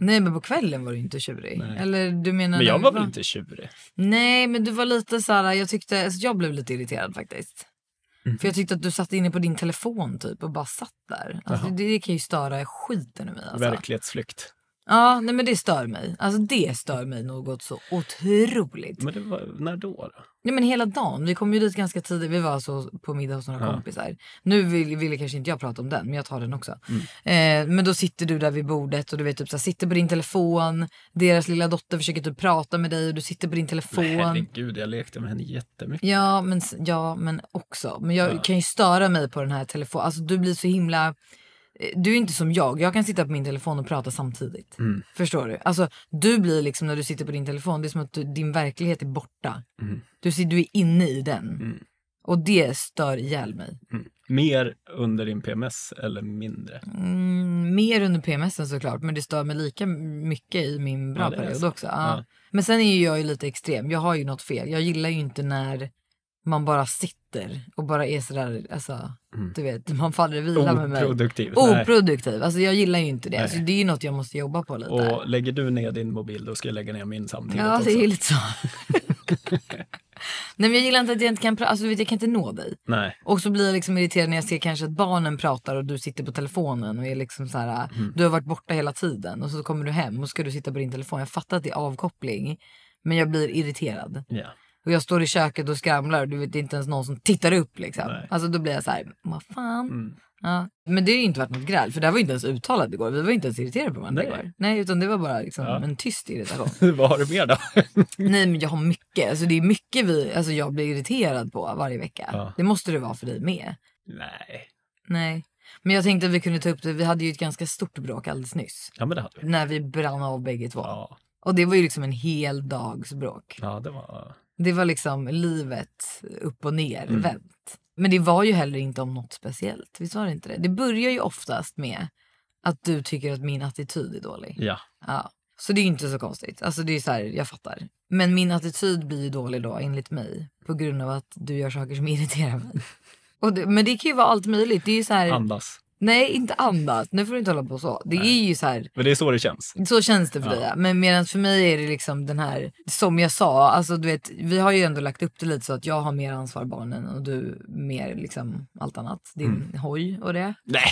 [SPEAKER 2] Nej, men på kvällen var du inte tjurig.
[SPEAKER 1] Nej.
[SPEAKER 2] Eller du menar...
[SPEAKER 1] Men
[SPEAKER 2] när
[SPEAKER 1] jag
[SPEAKER 2] vi
[SPEAKER 1] var väl inte tjurig?
[SPEAKER 2] Nej, men du var lite så här, jag tyckte, alltså jag blev lite irriterad faktiskt.
[SPEAKER 1] Mm.
[SPEAKER 2] För jag tyckte att du satt inne på din telefon typ och bara satt där. Alltså,
[SPEAKER 1] Jaha.
[SPEAKER 2] det, det kan ju störa skiten ur mig alltså.
[SPEAKER 1] Verklighetsflykt.
[SPEAKER 2] Ja, nej men det stör mig. Alltså det stör mig något så otroligt.
[SPEAKER 1] Men det var, när då? då?
[SPEAKER 2] Nej men hela dagen. Vi kom ju dit ganska tidigt. Vi var så på middag hos några
[SPEAKER 1] Ja.
[SPEAKER 2] kompisar. Nu ville vill kanske inte jag prata om den, men jag tar den också.
[SPEAKER 1] Mm.
[SPEAKER 2] Eh, men då sitter du där vid bordet och du vet typ så här, sitter på din telefon. Deras lilla dotter försöker typ prata med dig och du sitter på din telefon.
[SPEAKER 1] Men herregud, jag lekte med henne jättemycket.
[SPEAKER 2] Ja men, s- ja, men också. Men jag
[SPEAKER 1] Ja.
[SPEAKER 2] kan ju störa mig på den här telefonen. Alltså du blir så himla... eh, Du är inte som jag. Jag kan sitta på min telefon och prata samtidigt.
[SPEAKER 1] Mm.
[SPEAKER 2] Förstår du? Alltså du blir liksom när du sitter på din telefon, det är som att du, din verklighet är borta.
[SPEAKER 1] Mm.
[SPEAKER 2] Du, ser- du är inne i den.
[SPEAKER 1] Mm.
[SPEAKER 2] Och det stör ihjäl mig.
[SPEAKER 1] Mm. Mer under din PMS eller mindre?
[SPEAKER 2] Mm, mer under PMSen såklart, men det stör mig lika mycket i min bra
[SPEAKER 1] Ja, det är
[SPEAKER 2] period
[SPEAKER 1] så.
[SPEAKER 2] också. Ja.
[SPEAKER 1] Ja.
[SPEAKER 2] Men sen är ju jag ju lite extrem. Jag har ju något fel. Jag gillar ju inte när man bara sitter och bara är sådär, alltså,
[SPEAKER 1] Mm.
[SPEAKER 2] du vet, man faller i vila med mig.
[SPEAKER 1] Oproduktiv. Nej.
[SPEAKER 2] Oproduktiv. Alltså jag gillar ju inte det.
[SPEAKER 1] Nej.
[SPEAKER 2] Alltså, det är ju något jag måste jobba på lite.
[SPEAKER 1] Och lägger du ner din mobil, då ska jag lägga ner min samtidigt
[SPEAKER 2] Ja,
[SPEAKER 1] också.
[SPEAKER 2] det är ju lite så. <laughs> Nej men jag gillar inte att jag inte kan prata, alltså du vet jag kan inte nå dig.
[SPEAKER 1] Nej,
[SPEAKER 2] Och så blir jag liksom irriterad när jag ser kanske att barnen pratar och du sitter på telefonen och är liksom så här,
[SPEAKER 1] Mm.
[SPEAKER 2] du har varit borta hela tiden och så kommer du hem och ska du sitta på din telefon. Jag fattar att det är avkoppling men jag blir irriterad.
[SPEAKER 1] ja. <laughs>
[SPEAKER 2] Och jag står i köket och skramlar och du vet det är inte ens någon som tittar upp liksom.
[SPEAKER 1] Nej.
[SPEAKER 2] Alltså då blir jag så här, vad fan.
[SPEAKER 1] Mm.
[SPEAKER 2] Ja. Men det har ju inte varit något gräl för det här var ju inte ens uttalat igår. Vi var ju inte ens irriterade på varandra
[SPEAKER 1] Nej.
[SPEAKER 2] igår. Nej utan det var bara liksom
[SPEAKER 1] Ja.
[SPEAKER 2] en
[SPEAKER 1] <laughs>
[SPEAKER 2] tyst irritation.
[SPEAKER 1] Vad har du mer då?
[SPEAKER 2] Nej men jag har mycket, alltså det är mycket vi, alltså jag blir irriterad på varje vecka.
[SPEAKER 1] Ja.
[SPEAKER 2] Det måste det vara för dig med.
[SPEAKER 1] Nej,
[SPEAKER 2] Nej. Men jag tänkte att vi kunde ta upp det. Vi hade ju ett ganska stort bråk alldeles nyss.
[SPEAKER 1] ja men det hade vi.
[SPEAKER 2] När vi brann av bägge två.
[SPEAKER 1] Ja,
[SPEAKER 2] Och det var ju liksom en hel dags bråk.
[SPEAKER 1] ja det var...
[SPEAKER 2] Det var liksom livet upp och ner,
[SPEAKER 1] Mm.
[SPEAKER 2] vänt. Men det var ju heller inte om något speciellt. Visst var det inte det? Det börjar ju oftast med att du tycker att min attityd är dålig.
[SPEAKER 1] Ja.
[SPEAKER 2] Ja. Så det är ju inte så konstigt. Alltså det är så här, jag fattar. Men min attityd blir ju dålig då enligt mig. På grund av att du gör saker som
[SPEAKER 1] <laughs>
[SPEAKER 2] irriterar mig. Och det, men det kan ju vara allt möjligt. Det är ju så här...
[SPEAKER 1] Andas.
[SPEAKER 2] Nej, inte andas. Nu får du inte hålla på så. Det är ju så här.
[SPEAKER 1] Men det är så det känns.
[SPEAKER 2] Så känns det för
[SPEAKER 1] Ja.
[SPEAKER 2] dig. ja. Men medan för mig är det liksom den här, som jag sa, alltså du vet, vi har ju ändå lagt upp det lite så att jag har mer ansvar för barnen och du mer liksom allt annat. Din
[SPEAKER 1] Mm.
[SPEAKER 2] hoj och det.
[SPEAKER 1] Nej,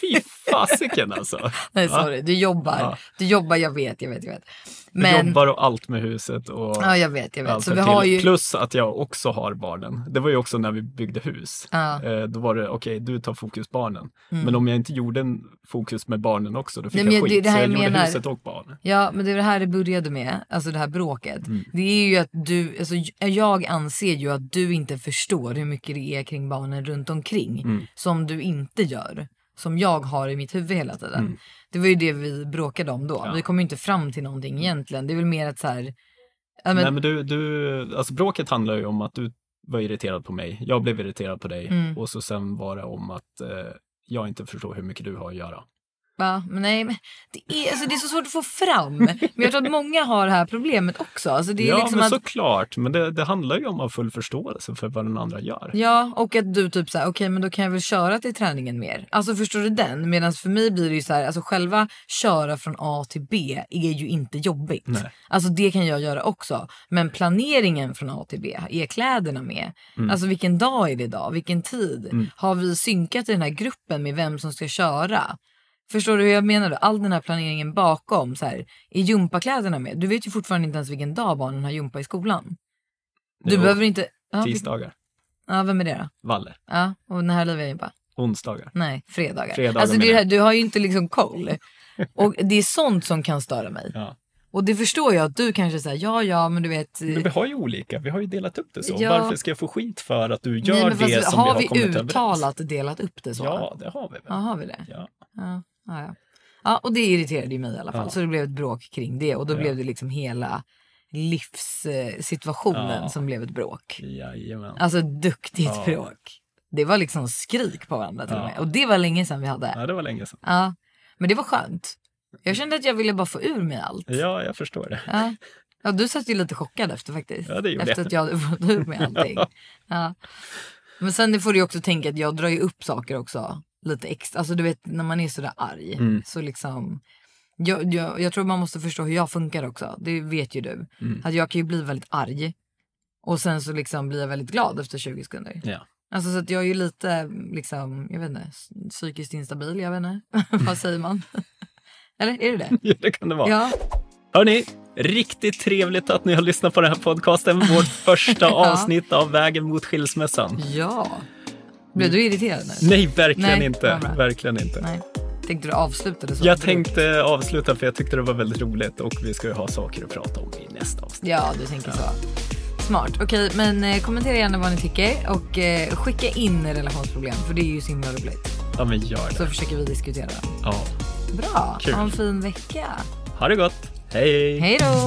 [SPEAKER 1] fy fasiken alltså.
[SPEAKER 2] <laughs> Nej
[SPEAKER 1] Va?
[SPEAKER 2] sorry, du jobbar.
[SPEAKER 1] Ja.
[SPEAKER 2] Du jobbar, jag vet, jag vet, jag vet. Men-
[SPEAKER 1] jobbar och allt med huset. Och
[SPEAKER 2] Ja, jag vet, jag vet.
[SPEAKER 1] allt
[SPEAKER 2] Så vi
[SPEAKER 1] därtill.
[SPEAKER 2] har ju-
[SPEAKER 1] Plus att jag också har barnen. Det var ju också när vi byggde hus.
[SPEAKER 2] Ja.
[SPEAKER 1] Eh, Då var det, okej, du tar fokus barnen.
[SPEAKER 2] Mm.
[SPEAKER 1] Men om jag inte gjorde en fokus med barnen också, då fick
[SPEAKER 2] Nej, men
[SPEAKER 1] jag
[SPEAKER 2] jag-
[SPEAKER 1] skit.
[SPEAKER 2] det- det här
[SPEAKER 1] så jag
[SPEAKER 2] jag
[SPEAKER 1] gjorde
[SPEAKER 2] menar-
[SPEAKER 1] huset och barnen.
[SPEAKER 2] Ja, men det är det här det började med, alltså det här bråket.
[SPEAKER 1] Mm.
[SPEAKER 2] Det är ju att du, alltså j- jag anser ju att du inte förstår hur mycket det är kring barnen runt omkring
[SPEAKER 9] Mm.
[SPEAKER 2] som du inte gör. Som jag har i mitt huvud hela tiden.
[SPEAKER 9] Mm.
[SPEAKER 2] Det var ju det vi bråkade om då. Vi kom ju inte fram till någonting egentligen. Det är väl mer att så här, ja, men,
[SPEAKER 1] Nej, men du, du, alltså bråket handlar ju om att du var irriterad på mig, jag blev irriterad på dig
[SPEAKER 2] Mm.
[SPEAKER 1] och så sen var det om att eh, jag inte förstår hur mycket du har att göra.
[SPEAKER 2] Va? Men nej, men det, är, alltså, det är så svårt att få fram. Men jag tror att många har det här problemet också. Alltså, det är
[SPEAKER 1] ja,
[SPEAKER 2] liksom
[SPEAKER 1] men
[SPEAKER 2] att,
[SPEAKER 1] såklart, men det, det handlar ju om att ha full förståelse för vad den andra gör.
[SPEAKER 2] Ja, och att du typ såhär, okej men då kan jag väl köra till träningen mer. Alltså förstår du den? Medan för mig blir det ju såhär, alltså själva köra från A till B är ju inte jobbigt.
[SPEAKER 9] Nej.
[SPEAKER 2] Alltså det kan jag göra också. Men planeringen från A till B, är kläderna med?
[SPEAKER 9] Mm.
[SPEAKER 2] Alltså vilken dag är det idag? Vilken tid?
[SPEAKER 9] Mm.
[SPEAKER 2] Har vi synkat i den här gruppen med vem som ska köra? Förstår du hur jag menar? Då? All den här planeringen bakom. Så här, är gympakläderna med? Du vet ju fortfarande inte ens vilken dag barnen har gympa i skolan. Du
[SPEAKER 1] Jo,
[SPEAKER 2] behöver inte... Ja, vi-
[SPEAKER 1] Tisdagar,
[SPEAKER 2] Ja, vem är det då?
[SPEAKER 1] Valle.
[SPEAKER 2] Ja, och när har Olivia gympa?
[SPEAKER 1] Onsdagar.
[SPEAKER 2] Nej, fredagar.
[SPEAKER 1] Fredagar
[SPEAKER 2] alltså, det är
[SPEAKER 1] menar
[SPEAKER 2] det
[SPEAKER 1] jag.
[SPEAKER 2] här, du har ju inte liksom koll. Och det är sånt som kan störa mig. Och det förstår jag att du kanske säger, ja ja men du vet.
[SPEAKER 1] Men vi har ju olika, vi har ju delat upp det så.
[SPEAKER 2] Ja.
[SPEAKER 1] Varför ska jag få skit för att du gör
[SPEAKER 2] Nej, men fast
[SPEAKER 1] det som
[SPEAKER 2] har
[SPEAKER 1] vi har kommit överens
[SPEAKER 2] uttalat delat upp det så?
[SPEAKER 1] Ja, det har vi väl.
[SPEAKER 2] Ja, har vi det?
[SPEAKER 1] Ja.
[SPEAKER 2] Ja, ja, ja. ja och det irriterade ju mig i alla fall.
[SPEAKER 1] Ja.
[SPEAKER 2] Så det blev ett bråk kring det och då
[SPEAKER 1] Ja.
[SPEAKER 2] blev det liksom hela livssituationen
[SPEAKER 1] Ja.
[SPEAKER 2] som blev ett bråk.
[SPEAKER 1] Jajamän.
[SPEAKER 2] Alltså duktigt
[SPEAKER 1] Ja.
[SPEAKER 2] bråk. Det var liksom skrik på varandra till och
[SPEAKER 1] Ja.
[SPEAKER 2] med. Och det var länge sedan vi hade.
[SPEAKER 1] Ja, det var länge sedan.
[SPEAKER 2] Ja, men det var skönt. Jag kände att jag ville bara få ur mig allt.
[SPEAKER 1] Ja, jag förstår det.
[SPEAKER 2] Ja. Ja, du satt ju lite chockad efter faktiskt.
[SPEAKER 1] Ja, det gjorde
[SPEAKER 2] efter
[SPEAKER 1] jag.
[SPEAKER 2] att jag hade fått ur mig
[SPEAKER 1] <laughs>
[SPEAKER 2] allting. Ja. Men sen får du ju också tänka att jag drar ju upp saker också lite extra. Alltså du vet när man är sådär arg
[SPEAKER 9] Mm.
[SPEAKER 2] så liksom. Jag, jag, jag tror man måste förstå hur jag funkar också. Det vet ju du.
[SPEAKER 9] Mm.
[SPEAKER 2] Att jag kan ju bli väldigt arg. Och sen så liksom blir jag väldigt glad efter 20 sekunder.
[SPEAKER 1] Ja. <laughs>
[SPEAKER 2] Alltså så att jag är ju lite liksom, jag vet inte, psykiskt instabil, jag vet inte. <laughs> Vad säger man? Eller är det det?
[SPEAKER 1] Ja, det kan det vara.
[SPEAKER 2] Ja.
[SPEAKER 1] Hörni, riktigt trevligt att ni har lyssnat på den här podcasten.
[SPEAKER 2] <laughs>
[SPEAKER 1] Vårt första
[SPEAKER 2] Ja.
[SPEAKER 1] avsnitt av Vägen mot skilsmässan.
[SPEAKER 2] Ja. Blev du irriterad nu?
[SPEAKER 1] Nej, verkligen
[SPEAKER 2] Nej,
[SPEAKER 1] inte.
[SPEAKER 2] vad bra.
[SPEAKER 1] Verkligen inte.
[SPEAKER 2] Nej. Tänkte du avsluta det så?
[SPEAKER 1] Jag tänkte avsluta för jag tyckte det var väldigt roligt och vi ska ju ha saker att prata om i nästa avsnitt.
[SPEAKER 2] Ja, du tänker så. Smart. Okej, men eh, kommentera gärna vad ni tycker och eh, skicka in relationsproblem för det är ju så himla roligt.
[SPEAKER 1] Ja, men gör
[SPEAKER 2] Så
[SPEAKER 1] det.
[SPEAKER 2] försöker vi diskutera dem.
[SPEAKER 1] Ja.
[SPEAKER 2] Bra.
[SPEAKER 1] Kul.
[SPEAKER 2] Ha en fin vecka.
[SPEAKER 1] Ha det gott. Hej!
[SPEAKER 2] Hej då!